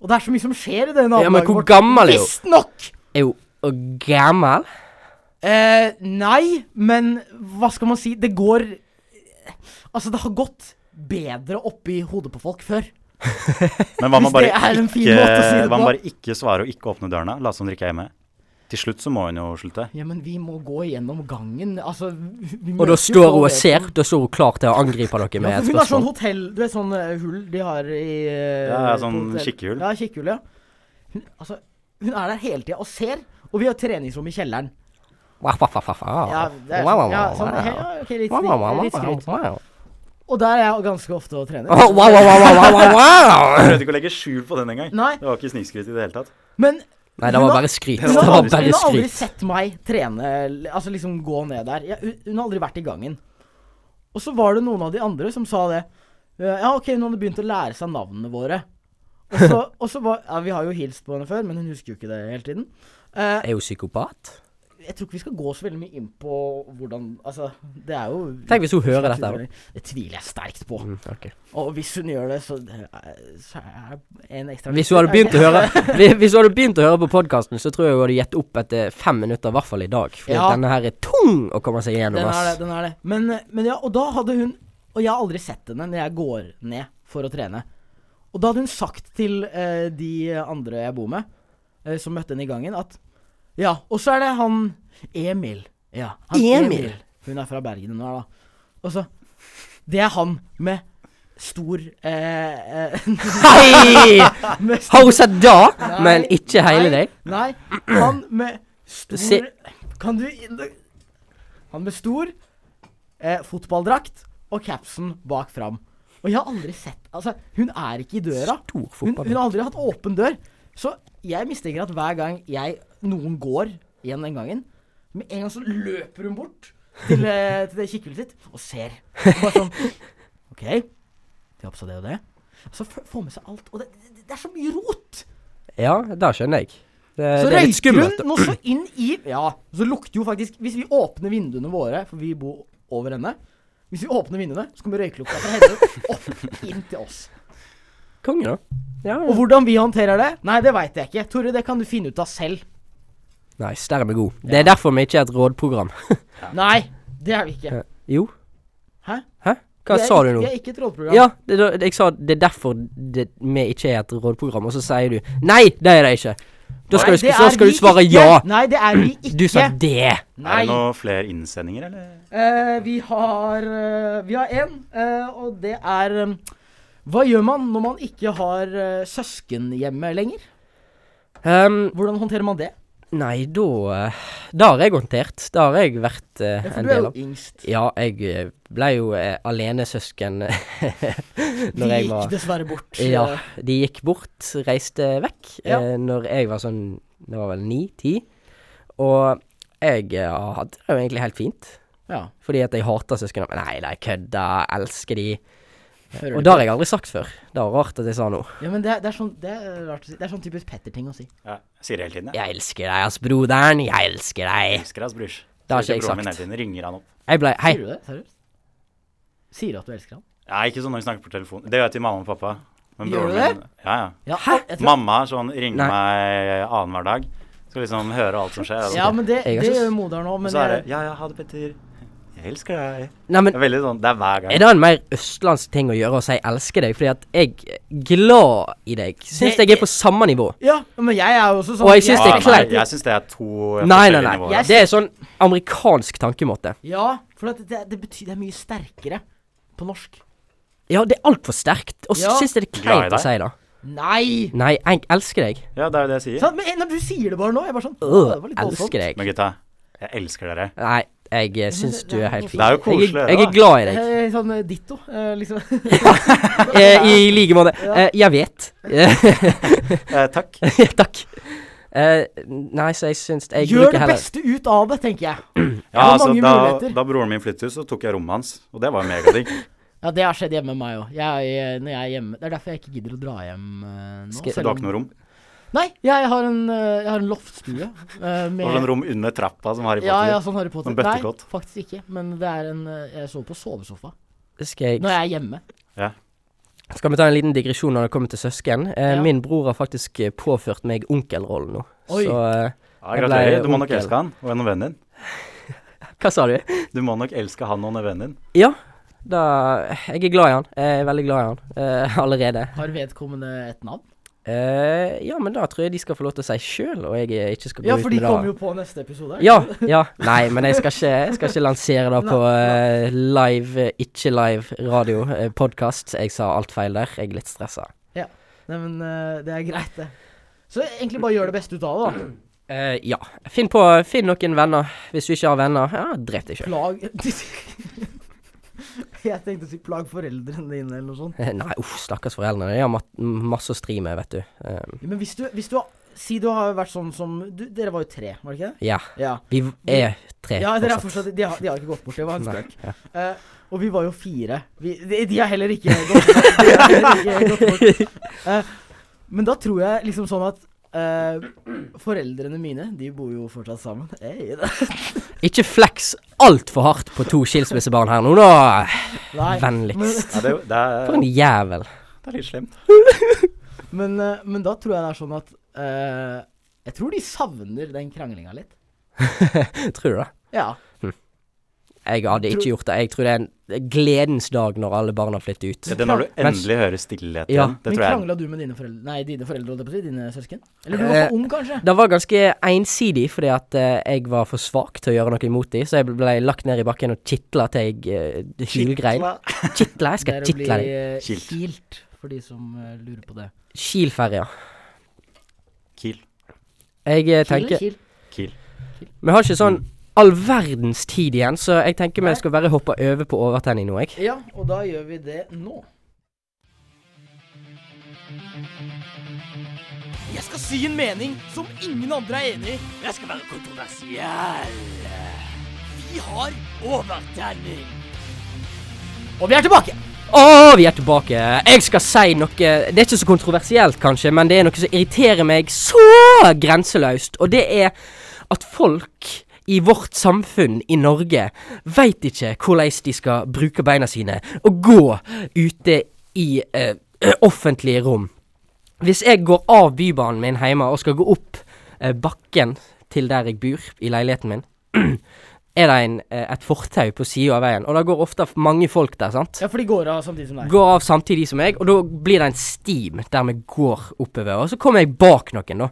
Speaker 6: Og det er så mye som skjer i det nabolaget
Speaker 7: Ja, men hvor
Speaker 6: vårt.
Speaker 7: gammel er hun?
Speaker 6: Visstnok!
Speaker 7: Er hun og gammel?
Speaker 6: Eh, nei, men hva skal man si? Det går Altså, det har gått bedre oppi hodet på folk før.
Speaker 8: Men hva med
Speaker 6: Hvis det
Speaker 8: bare,
Speaker 6: er en fin
Speaker 8: ikke,
Speaker 6: måte å si det
Speaker 8: hva
Speaker 6: på.
Speaker 8: med bare ikke svare og ikke åpne dørene? Late som dere ikke er hjemme. Til slutt så må hun jo slutte.
Speaker 6: Ja, men vi må gå gjennom gangen. Altså vi vi
Speaker 7: Og
Speaker 6: møter jo
Speaker 7: da står hun
Speaker 6: på
Speaker 7: og
Speaker 6: det.
Speaker 7: ser. Da står hun klar til å angripe dere
Speaker 6: Ja,
Speaker 7: med
Speaker 6: for
Speaker 7: et
Speaker 6: hun har sånn
Speaker 7: spørsmål.
Speaker 6: hotell Du vet sånn eh, hull de har i eh,
Speaker 8: Ja,
Speaker 6: på
Speaker 8: sånn
Speaker 6: hotell.
Speaker 8: kikkehull.
Speaker 6: Ja, kikkehull, ja. Hun, altså, hun er der hele tida og ser, og vi har treningsrom i kjelleren.
Speaker 7: Wow, wow, wow, wow.
Speaker 6: Ja, det
Speaker 7: Ah,
Speaker 6: er
Speaker 7: Wow,
Speaker 6: sånn,
Speaker 7: wow,
Speaker 6: ja,
Speaker 7: wow,
Speaker 6: sånn
Speaker 7: wow.
Speaker 6: he- ja, ok, litt,
Speaker 7: Wow, wow, wow,
Speaker 6: skryt, litt
Speaker 7: wow,
Speaker 6: skryt.
Speaker 7: wow.
Speaker 6: Og der er jeg ganske ofte og trener.
Speaker 7: Wow, wow, wow, wow, wow, wow, wow.
Speaker 8: Jeg prøvde ikke å legge skjul på den engang.
Speaker 6: Nei.
Speaker 8: Det var ikke snikskryt i det hele tatt.
Speaker 6: Men
Speaker 7: Nei, det
Speaker 6: Hun
Speaker 7: var
Speaker 6: har-
Speaker 7: bare skryt.
Speaker 6: hun
Speaker 7: Det
Speaker 6: har,
Speaker 7: var
Speaker 6: aldri,
Speaker 7: bare
Speaker 6: hun har aldri
Speaker 7: skryt.
Speaker 6: sett meg trene l- Altså liksom gå ned der. Ja, hun, hun har aldri vært i gangen. Og så var det noen av de andre som sa det. Eh, Ja, ok, hun hadde begynt å lære seg navnene våre. Og så, og så var Ja, vi har jo hilst på henne før, men hun husker jo ikke det hele tiden. Eh,
Speaker 7: Er hun psykopat?
Speaker 6: jeg tror ikke vi skal gå så veldig mye inn på hvordan Altså, det er jo
Speaker 7: Tenk hvis hun hører dette her.
Speaker 6: Det tviler jeg sterkt på.
Speaker 7: Mm, ok.
Speaker 6: Og hvis hun gjør det, så, eh, så er det en ekstra
Speaker 7: Hvis hun hadde begynt å høre Hvis hvis hun hadde begynt å høre på podkasten, så tror jeg hun hadde gitt opp etter fem minutter, i hvert fall i dag. For
Speaker 6: Ja.
Speaker 7: denne her er tung å komme seg gjennom.
Speaker 6: Den er det,
Speaker 7: ass.
Speaker 6: den er det. Men, men ja, og da hadde hun Og jeg har aldri sett henne når jeg går ned for å trene. Og da hadde hun sagt til eh, de andre jeg bor med, eh, som møtte henne i gangen, at Ja, og så er det han Emil. Ja, han
Speaker 7: Emil?
Speaker 6: Hun er fra Bergen hun er, da. Og så Det er han med stor eh, eh,
Speaker 7: Hei!
Speaker 6: med stor-
Speaker 7: Har hun sett da, men ikke hele
Speaker 6: Nei,
Speaker 7: deg?
Speaker 6: Nei, han med stor
Speaker 7: Se-
Speaker 6: Kan du Han med stor eh, fotballdrakt og capsen bak fram. Og jeg har aldri sett Altså, hun er ikke i døra.
Speaker 7: Stor
Speaker 6: Hun, hun
Speaker 7: fotball.
Speaker 6: har aldri hatt åpen dør. Så jeg mistenker at hver gang jeg noen går igjen den gangen, med en gang så løper hun bort til, eh, til det kikkehullet sitt og ser. Bare sånn OK, vi har på seg det og det. Så f- får med seg alt. Og det, det, det er så mye rot!
Speaker 7: Ja, da skjønner jeg. Det, Eh,
Speaker 6: Så
Speaker 7: det er litt
Speaker 6: røyker
Speaker 7: skummelt.
Speaker 6: hun nå så inn i Ja, så lukter jo faktisk Hvis vi åpner vinduene våre, for vi bor over henne Hvis vi åpner vinduene, så kommer røyklukta fra henne opp inn til oss.
Speaker 7: Konge, da. Ja,
Speaker 6: Og
Speaker 7: ja.
Speaker 6: hvordan vi håndterer det? Nei, det veit jeg ikke. Tore, det kan du finne ut av selv.
Speaker 7: Nice, der er vi gode. Det er derfor vi ikke er et rådprogram.
Speaker 6: Nei, det er vi ikke.
Speaker 7: Jo.
Speaker 6: Hæ?
Speaker 7: Hæ? Hva
Speaker 6: Vi er
Speaker 7: sa du
Speaker 6: ikke-
Speaker 7: nå?
Speaker 6: Vi er ikke et rådprogram.
Speaker 7: Ja, det, det, jeg sa det er derfor det, vi ikke er et rådprogram, og så sier du Nei, det er det ikke. Da
Speaker 6: Nei,
Speaker 7: skal, du,
Speaker 6: det
Speaker 7: så
Speaker 6: er
Speaker 7: skal
Speaker 6: vi
Speaker 7: du svare
Speaker 6: ikke.
Speaker 7: ja.
Speaker 6: Nei, det er vi ikke.
Speaker 7: Du sa det.
Speaker 8: Er
Speaker 6: Nei.
Speaker 8: det noen flere innsendinger, eller?
Speaker 6: Eh, vi har eh, Vi har én, eh, og det er eh, Hva gjør man når man ikke har eh, søsken hjemme lenger?
Speaker 7: Um,
Speaker 6: Hvordan håndterer man det?
Speaker 7: Nei, da eh, Da har jeg håndtert. Da har jeg vært eh,
Speaker 6: Ja, for
Speaker 7: en
Speaker 6: du er
Speaker 7: del
Speaker 6: jo
Speaker 7: av.
Speaker 6: yngst.
Speaker 7: Ja, jeg eh, ble jo eh, alenesøsken
Speaker 6: De
Speaker 7: når jeg
Speaker 6: gikk
Speaker 7: var
Speaker 6: dessverre bort.
Speaker 7: Ja,
Speaker 6: eh,
Speaker 7: de gikk bort, reiste vekk
Speaker 6: Ja.
Speaker 7: eh, når jeg var sånn Det var vel ni-ti. Og jeg eh, hadde det jo egentlig helt fint.
Speaker 6: ja.
Speaker 7: Fordi at jeg hater søsknene mine. Nei, nei, kødda. Elsker de.
Speaker 6: Hører
Speaker 7: Og det
Speaker 6: du på?
Speaker 7: har jeg aldri sagt før. Det var rart at jeg sa nå.
Speaker 6: ja, men det, er- det, er sånn, det er rart å si. Det er sånn typisk Petter-ting å si.
Speaker 8: Ja, jeg sier det hele tiden, jeg.
Speaker 7: Jeg elsker deg, ass, broderen. Jeg elsker deg.
Speaker 8: Elsker deg, brors.
Speaker 7: Det har ikke jeg
Speaker 8: broren min hele
Speaker 7: sagt.
Speaker 8: tiden. Ringer han opp.
Speaker 7: Jeg ble Hei.
Speaker 6: Sier du det? Seriøst? Sier du at du elsker ham?
Speaker 8: Nei, ikke sånn når vi snakker på telefon. Det gjør jeg til mamma og pappa. Men
Speaker 6: Gjør
Speaker 8: broren
Speaker 6: du det?
Speaker 8: min- Ja, ja.
Speaker 6: Ja, jeg tror-
Speaker 8: Mamma er sånn, ringer
Speaker 7: Nei.
Speaker 8: meg annenhver dag. Skal liksom høre alt som skjer.
Speaker 6: ja, men det,
Speaker 7: Jeg har
Speaker 6: det
Speaker 7: ikke-
Speaker 6: gjør jo moderen òg,
Speaker 8: og
Speaker 6: men
Speaker 8: så er det
Speaker 6: jeg-
Speaker 8: Ja, ja, ha det, Petter. Jeg elsker deg.
Speaker 7: Nei,
Speaker 8: Det
Speaker 7: men
Speaker 8: er veldig sånn, det er hver gang.
Speaker 7: er det en mer østlandsk ting å gjøre å si 'elsker deg'? Fordi at jeg er glad i deg. Syns
Speaker 6: Det-
Speaker 7: jeg er på samme nivå.
Speaker 6: ja, men jeg er jo også sånn
Speaker 7: Og jeg synes
Speaker 8: Ja,
Speaker 7: det er
Speaker 8: Ah, nei,
Speaker 7: kleint.
Speaker 8: Jeg syns det er to
Speaker 7: Nei, nei,
Speaker 8: forskjellige
Speaker 7: nei.
Speaker 8: nivåer.
Speaker 6: Jeg-
Speaker 7: Det er sånn amerikansk tankemåte.
Speaker 6: Ja, for at det, det betyr det er mye sterkere på norsk.
Speaker 7: Ja, det er altfor sterkt. Og så
Speaker 6: Ja.
Speaker 7: syns jeg det er
Speaker 8: Glad i
Speaker 7: kleint
Speaker 8: deg.
Speaker 7: å si det.
Speaker 6: Nei!
Speaker 7: Nei, jeg elsker deg.
Speaker 8: Ja, det er jo det
Speaker 7: Sånn.
Speaker 8: jeg sier.
Speaker 6: Sant? Men når du sier det bare nå, jeg bare sånn
Speaker 7: Øh,
Speaker 6: «Å, det var litt voldsomt».
Speaker 7: elsker deg.
Speaker 8: Men gutta, jeg elsker dere.
Speaker 7: Nei, jeg eh, syns du er helt fin.
Speaker 8: Det er jo
Speaker 7: Jeg,
Speaker 8: koselig.
Speaker 7: er- jeg
Speaker 8: da.
Speaker 7: er glad i deg.
Speaker 6: Eh, Sånn eh, ditto, eh, liksom.
Speaker 7: Eh, I like måte. Eh, jeg vet.
Speaker 8: Eh, takk.
Speaker 7: Takk. Eh, nei, så jeg syns jeg
Speaker 6: Gjør
Speaker 7: liker
Speaker 6: det
Speaker 7: heller
Speaker 6: beste ut av det, tenker jeg.
Speaker 8: Ja,
Speaker 6: har
Speaker 8: altså,
Speaker 6: mange
Speaker 8: da,
Speaker 6: muligheter.
Speaker 8: da broren min flyttet ut, så tok jeg rommet hans. Og det var jo megadigg.
Speaker 6: Ja, det har skjedd hjemme med meg òg. Når jeg er hjemme Det er derfor jeg ikke gidder å dra hjem eh, nå.
Speaker 7: Skal-
Speaker 8: Så du har ikke noe rom.
Speaker 6: Nei, jeg har en, eh, jeg har en loftstue eh,
Speaker 8: Det var sånn
Speaker 6: med
Speaker 8: rom under trappa som Harry
Speaker 6: ja,
Speaker 8: Potter.
Speaker 6: ja, sånn Harry Potter.
Speaker 8: Sånn
Speaker 6: Nei,
Speaker 8: bøttekott.
Speaker 6: faktisk ikke. Men det er en eh, Jeg sover på sovesofa
Speaker 7: Skal, jeg,
Speaker 6: når jeg er hjemme.
Speaker 7: skal vi ta en liten digresjon når det kommer til søsken? Eh,
Speaker 6: Ja.
Speaker 7: Min bror har faktisk eh, påført meg onkelrollen nå.
Speaker 6: Oi.
Speaker 7: Så eh,
Speaker 8: Ja,
Speaker 7: Jeg ble
Speaker 8: gratulerer. Du må nok
Speaker 7: onkel.
Speaker 8: elske han og en av vennen din.
Speaker 7: Hva sa du?
Speaker 8: Du må nok elske han og en av vennen din.
Speaker 7: Ja, da Jeg er glad i han. Jeg er veldig glad i han eh, allerede.
Speaker 6: Har vedkommende et navn?
Speaker 7: Eh, ja, men da tror jeg de skal få lov til å si sjøl, og jeg eh, ikke skal gå
Speaker 6: Ja,
Speaker 7: ut
Speaker 6: for
Speaker 7: med
Speaker 6: de
Speaker 7: det.
Speaker 6: kommer jo på neste episode.
Speaker 7: Ja, ja. Nei, men jeg skal ikke, jeg skal ikke lansere det på eh, live, eh, ikke live radio eh, podcast. Jeg sa alt feil der. Jeg er litt stressa.
Speaker 6: Nei, men eh, det er greit, det. Så egentlig bare gjør det beste ut av det, da.
Speaker 7: Eh, ja. Finn på Finn noen venner. Hvis du ikke har venner, ja, drep deg sjøl.
Speaker 6: Plag Jeg tenkte å si plag foreldrene dine, eller noe sånt.
Speaker 7: Nei, uff, stakkars foreldrene. De har mat- masse å stri med, vet du. Eh,
Speaker 6: Ja, Men hvis du, hvis du har Si du har vært sånn som du, Dere var jo tre, var det ikke det?
Speaker 7: ja.
Speaker 6: Ja.
Speaker 7: Vi v- er tre.
Speaker 6: Ja, dere er
Speaker 7: fortsatt.
Speaker 6: fortsatt De har, de har ikke gått bort, det var en
Speaker 7: Nei,
Speaker 6: spøk.
Speaker 7: ja.
Speaker 6: Eh, og vi var jo fire. Vi, de, de har heller ikke gått bort. De har heller ikke gått bort. Eh, men da tror jeg liksom sånn at eh, foreldrene mine, de bor jo fortsatt sammen. Hey,
Speaker 7: Ikke flex altfor hardt på to skilsmissebarn her nå, da.
Speaker 6: nei.
Speaker 7: Vennligst.
Speaker 8: Ja, det, det,
Speaker 7: For en
Speaker 8: er,
Speaker 7: jævel.
Speaker 8: det er litt slemt.
Speaker 6: Men, eh, men da tror jeg det er sånn at eh, Jeg tror de savner den kranglinga litt.
Speaker 7: Tror du det?
Speaker 6: Ja.
Speaker 7: Jeg hadde ikke gjort det. Jeg tror det er en gledens dag når alle barna flytter ut.
Speaker 8: Det er når du
Speaker 7: Men-
Speaker 8: endelig hører
Speaker 7: Ja.
Speaker 8: stillhet igjen. Det
Speaker 6: Men
Speaker 8: tror jeg
Speaker 6: krangla du med dine foreldre Nei, dine foreldre, holdt jeg på å si. Dine søsken? Eller du
Speaker 8: Eh,
Speaker 6: var for ung, kanskje?
Speaker 7: Det var ganske ensidig, fordi at eh, jeg var for svak til å gjøre noe imot dem, så jeg ble lagt ned i bakken og kitla til jeg uh, hylgrein. Kitla? Jeg
Speaker 6: Det
Speaker 7: skal
Speaker 6: er å bli
Speaker 7: kitla deg.
Speaker 6: eh,
Speaker 8: Kilt.
Speaker 6: kilt, for de som eh, lurer på det.
Speaker 7: Kielferja.
Speaker 8: Kiel.
Speaker 7: Jeg eh, tenker
Speaker 6: Kiel.
Speaker 8: Kiel.
Speaker 7: Vi har ikke sånn all verdens tid igjen, så jeg tenker vi skal bare hoppe over på overtenning nå, jeg.
Speaker 6: Ja, og da gjør vi det nå. Jeg skal si en mening som ingen andre er enig i. Jeg skal være kontroversiell. Vi har overtenning. Og vi er tilbake.
Speaker 7: Å, vi er tilbake. Jeg skal si noe Det er ikke så kontroversielt, kanskje, men det er noe som irriterer meg så grenseløst, og det er at folk i vårt samfunn i Norge veit ikke hvordan de skal bruke beina sine og gå ute i eh, offentlige rom. Hvis jeg går av bybanen min hjemme og skal gå opp eh, bakken til der jeg bor, i leiligheten min, er det en, eh, et fortau på sida av veien, og det går ofte mange folk der, sant?
Speaker 6: Ja, for de går av samtidig som deg.
Speaker 7: går av samtidig som meg, og da blir det en stim der vi går oppover. Og så kommer jeg bak noen, da.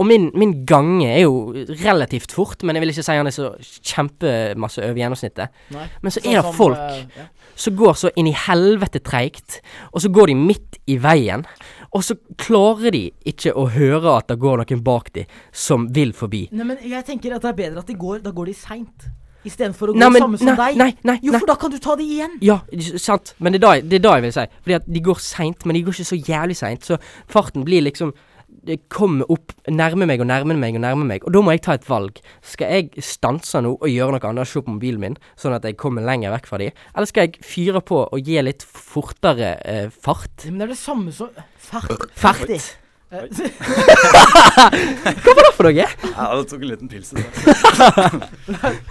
Speaker 7: Og min, min gange er jo relativt fort, men jeg vil ikke si han er så kjempemasse over gjennomsnittet.
Speaker 6: Nei.
Speaker 7: Men så
Speaker 6: Sånn
Speaker 7: er det
Speaker 6: som,
Speaker 7: folk
Speaker 6: eh, ja.
Speaker 7: som går så inn i helvete treigt, og så går de midt i veien, og så klarer de ikke å høre at det går noen bak de som vil forbi.
Speaker 6: Nei, men jeg tenker at det er bedre at de går, da går de seint. Istedenfor å gå
Speaker 7: Nei, men-
Speaker 6: samme som
Speaker 7: nei,
Speaker 6: deg.
Speaker 7: nei, nei,
Speaker 6: jo,
Speaker 7: nei.
Speaker 6: for da kan du ta det igjen.
Speaker 7: Ja, s- sant. Men det er da, det er da jeg vil si. Fordi at de går seint, men de går ikke så jævlig seint. Så farten blir liksom Det kommer opp, nærmer meg og nærmer meg og nærmer meg. Og da må jeg ta et valg. Skal jeg stanse nå og gjøre noe annet, se på mobilen min, sånn at jeg kommer lenger vekk fra de? Eller skal jeg fyre på og gi litt fortere eh, fart?
Speaker 6: Men det er det samme som Fert.
Speaker 7: Fert.
Speaker 6: Eh,
Speaker 7: Hva for noe?
Speaker 8: Ja, det tok en liten pils. i det.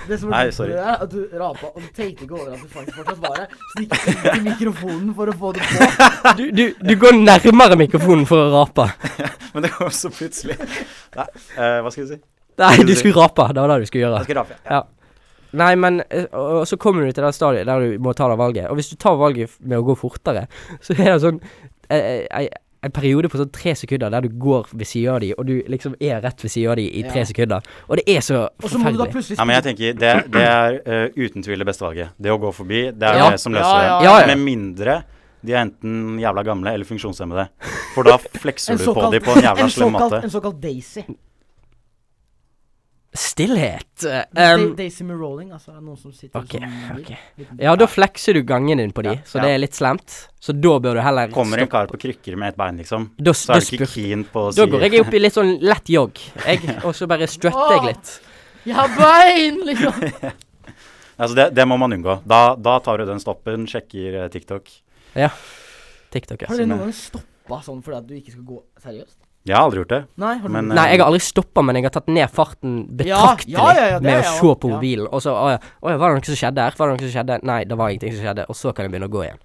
Speaker 6: Det som er
Speaker 8: Nei,
Speaker 6: dumt med
Speaker 8: sorry.
Speaker 6: det er at du rapa og du tenkte ikke over at du faktisk fortsatt var her. Så du gikk inn til mikrofonen for å få det på.
Speaker 7: Du, du, du går nærmere mikrofonen for å rape.
Speaker 8: Men det kom så plutselig. Nei, eh, hva skal jeg si?
Speaker 7: Nei, du skulle rape. Det var det du skulle gjøre.
Speaker 8: Jeg skal rape.
Speaker 7: Ja. Nei, men eh, og og så kommer du til det stadiet der du må ta det valget. Og hvis du tar valget f- med å gå fortere, så er det sånn eh, eh, en periode på sånn tre sekunder der du går ved siden av de, og du liksom er rett ved siden av de i tre
Speaker 6: Ja.
Speaker 7: sekunder. Og det er så
Speaker 6: Og så må du da
Speaker 7: forferdelig.
Speaker 6: plutselig
Speaker 8: Ja, men jeg tenker Det, det er eh, uten tvil det beste valget. Det å gå forbi, det er
Speaker 7: Ja.
Speaker 8: det som løser
Speaker 6: Ja,
Speaker 8: det.
Speaker 6: ja,
Speaker 7: ja.
Speaker 8: Med mindre de er enten jævla gamle eller funksjonshemmede. For da flekser
Speaker 6: en
Speaker 8: du på
Speaker 6: såkalt,
Speaker 8: dem på en jævla
Speaker 6: en
Speaker 8: slem
Speaker 6: såkalt,
Speaker 8: måte.
Speaker 6: en såkalt Daisy.
Speaker 7: Stillhet. eh,
Speaker 6: Da-
Speaker 7: em,
Speaker 6: Daisy med rolling, altså. er det Noen som sitter
Speaker 7: Ok,
Speaker 6: sånn
Speaker 7: ok.
Speaker 6: liten-
Speaker 7: ja, da flekser du gangen din på de,
Speaker 8: Ja,
Speaker 7: så
Speaker 8: ja.
Speaker 7: det er litt slemt. Så da bør du heller
Speaker 8: Kommer en
Speaker 7: stoppe.
Speaker 8: kar på krykker med et bein, liksom,
Speaker 7: Da,
Speaker 8: så
Speaker 7: da,
Speaker 8: er du ikke
Speaker 7: spurter-
Speaker 8: keen på å si
Speaker 7: da går jeg opp i litt sånn lett jogg, jeg, og så bare strutter jeg litt.
Speaker 6: Jeg har bein, liksom.
Speaker 8: Altså, det, det må man unngå. Da, da tar du den stoppen, sjekker eh, TikTok.
Speaker 7: TikTok,
Speaker 6: Har
Speaker 7: altså.
Speaker 6: dere noen gang stoppa sånn fordi at du ikke skal gå seriøst?
Speaker 8: Jeg har aldri gjort det.
Speaker 6: Nei, har du
Speaker 8: Men, eh,
Speaker 7: Nei, jeg har aldri stoppa, men jeg har tatt ned farten betraktelig
Speaker 6: Ja, ja, ja, ja, det
Speaker 7: med
Speaker 6: er
Speaker 7: å
Speaker 6: jeg
Speaker 7: se
Speaker 6: også,
Speaker 7: på
Speaker 6: ja.
Speaker 7: mobilen. Og så Å ja, å ja, var det noe som skjedde her? Var det noe som skjedde? Nei, det var ingenting som skjedde. Og så kan jeg begynne å gå igjen.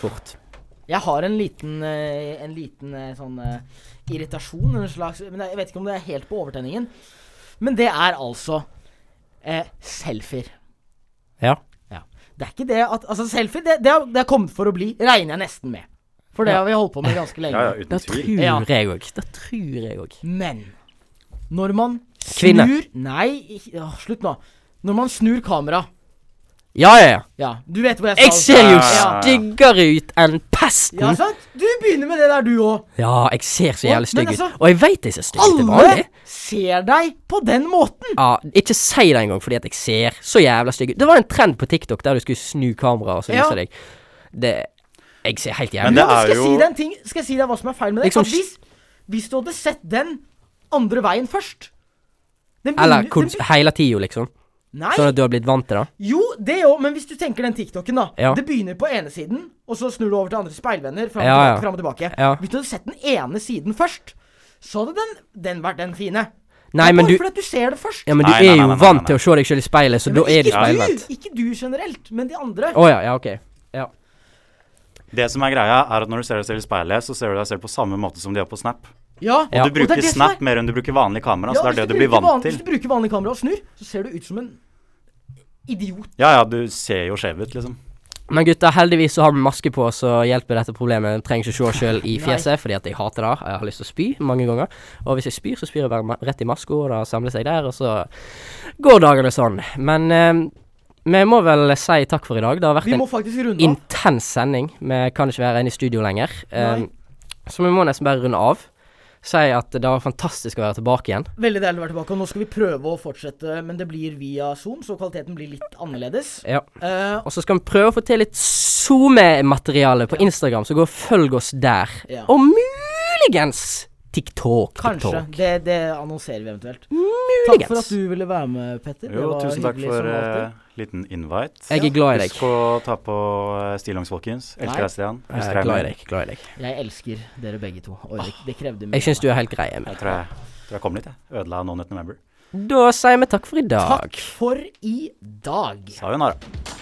Speaker 7: Fort.
Speaker 6: Jeg har en liten, eh, en liten eh, sånn eh, irritasjon, en slags Men jeg vet ikke om det er helt på overtenningen. Men det er altså eh, selfier.
Speaker 7: Ja.
Speaker 6: Det er ikke det at Altså, selfier, det, det, har, det har kommet for å bli, regner jeg nesten med. For det
Speaker 7: Ja.
Speaker 6: har vi holdt på med ganske lenge.
Speaker 8: Ja, ja, uten
Speaker 7: Da
Speaker 8: tvil.
Speaker 7: tror
Speaker 6: Ja.
Speaker 7: jeg òg. Da tror jeg òg.
Speaker 6: Men når man snur
Speaker 7: Kvinne.
Speaker 6: Nei, ikke- åh, slutt nå. Når man snur kamera
Speaker 7: Ja, ja, ja.
Speaker 6: Ja, du vet hvor jeg
Speaker 7: Jeg
Speaker 6: skal.
Speaker 7: ser jo
Speaker 8: Ja.
Speaker 7: styggere ut enn
Speaker 6: Ja,
Speaker 8: Mm.
Speaker 7: pesten.
Speaker 6: sant? Du begynner med det der, du òg.
Speaker 7: Ja, jeg ser så
Speaker 6: Men
Speaker 7: jævlig stygg ut.
Speaker 6: altså,
Speaker 7: Og jeg veit jeg ser stygg ut til
Speaker 6: Alle
Speaker 7: vanlig.
Speaker 6: ser deg på den måten.
Speaker 7: Ja, ikke si det engang fordi at jeg ser så jævla stygg ut. Det var en trend på TikTok der du skulle snu kameraet og så
Speaker 6: Ja.
Speaker 7: vise deg. Det Jeg ser helt jævlig
Speaker 8: Men
Speaker 7: ut.
Speaker 8: det
Speaker 6: Ja, men
Speaker 8: er
Speaker 6: skal jeg
Speaker 8: jo
Speaker 6: si deg en ting? Skal jeg si deg hva som er feil med det?
Speaker 7: Liksom
Speaker 6: At hvis, hvis du hadde sett den andre veien først den
Speaker 7: Eller
Speaker 6: begynner-
Speaker 7: kons-
Speaker 6: den be-
Speaker 7: hele tida, liksom.
Speaker 6: Nei,
Speaker 7: Sånn at du har blitt vant til det.
Speaker 6: jo, det jo, men hvis du tenker den TikToken, da.
Speaker 7: Ja.
Speaker 6: Det begynner på ene siden, og så snur du over til andre speilvenner. Fram og
Speaker 7: Ja, ja.
Speaker 6: tilbake, fram og tilbake.
Speaker 7: Ja.
Speaker 6: Hvis du hadde sett den ene siden først, så hadde den, den vært den fine.
Speaker 7: Nei,
Speaker 6: Det er
Speaker 7: men
Speaker 6: bare
Speaker 7: du,
Speaker 6: fordi at du ser det først.
Speaker 7: ja, men du
Speaker 8: Nei, nei,
Speaker 7: er
Speaker 8: nei,
Speaker 7: jo
Speaker 8: nei, nei,
Speaker 7: vant
Speaker 8: nei.
Speaker 7: til å se deg sjøl i speilet, så da er du
Speaker 6: ikke,
Speaker 7: speilvendt.
Speaker 6: du, ikke du generelt, men de andre.
Speaker 7: Å ja, ja, ok. Ja.
Speaker 8: Det som er greia, er at når du ser deg selv i speilet, så ser du deg selv på samme måte som de gjør på Snap.
Speaker 7: Ja.
Speaker 8: Du
Speaker 6: Ja, og det er
Speaker 8: bruker
Speaker 6: det som er-
Speaker 8: Snap mer enn du bruker vanlig kamera,
Speaker 6: Ja,
Speaker 8: så det er det
Speaker 6: hvis
Speaker 8: du blir
Speaker 6: bruker
Speaker 8: vant
Speaker 6: van-
Speaker 8: til.
Speaker 6: Hvis du bruker vanlig kamera og snur, så ser du ut som en idiot.
Speaker 8: Ja, ja, du ser jo skjev ut, liksom.
Speaker 7: Men gutta, heldigvis så har vi maske på, så hjelper dette problemet. Jeg trenger ikke se oss sjøl i fjeset, fordi at jeg hater det. Jeg har lyst til å spy mange ganger. Og hvis jeg spyr, så spyr jeg bare ma- rett i maska, og det samler seg der, og så går dagene sånn. Men eh, vi må vel si takk for i dag. Det har vært
Speaker 6: Vi
Speaker 7: en
Speaker 6: må faktisk runde av.
Speaker 7: intens sending. Vi kan ikke være inne i studio lenger.
Speaker 6: Nei.
Speaker 7: Eh, så vi må nesten bare runde av. Si at det var fantastisk å være tilbake igjen.
Speaker 6: Veldig deilig å være tilbake. Og nå skal vi prøve å fortsette, men det blir via Zoom, så kvaliteten blir litt annerledes.
Speaker 7: Ja.
Speaker 6: Eh,
Speaker 7: Og så skal vi prøve å få til litt SoMe-materiale på Instagram, så gå og følg oss der.
Speaker 6: Ja.
Speaker 7: Og muligens TikTok.
Speaker 6: kanskje.
Speaker 7: TikTok.
Speaker 6: Det, det annonserer vi eventuelt. Takk
Speaker 7: Muligens.
Speaker 6: for at du ville være med, Petter. Det
Speaker 8: Jo,
Speaker 6: var
Speaker 8: tusen takk
Speaker 6: hyggelig
Speaker 8: for
Speaker 6: som alltid.
Speaker 8: eh, liten invite.
Speaker 7: Jeg er glad i deg.
Speaker 8: Husk å ta på eh, stillongs, folkens.
Speaker 6: Nei.
Speaker 8: Elsker deg, Stian.
Speaker 7: Jeg
Speaker 8: Husker
Speaker 7: er Eh, glad i
Speaker 8: meg.
Speaker 7: deg. glad i deg.
Speaker 6: Jeg elsker dere begge to. Oi, det, det krevde mye.
Speaker 7: Jeg syns
Speaker 6: av
Speaker 7: du er helt grei. Emil.
Speaker 8: Jeg tror jeg, tror jeg kom litt, jeg. Ødela Non November.
Speaker 7: Da sier vi takk for i
Speaker 6: meg.
Speaker 7: dag.
Speaker 6: Takk for i dag.
Speaker 8: Sayonara.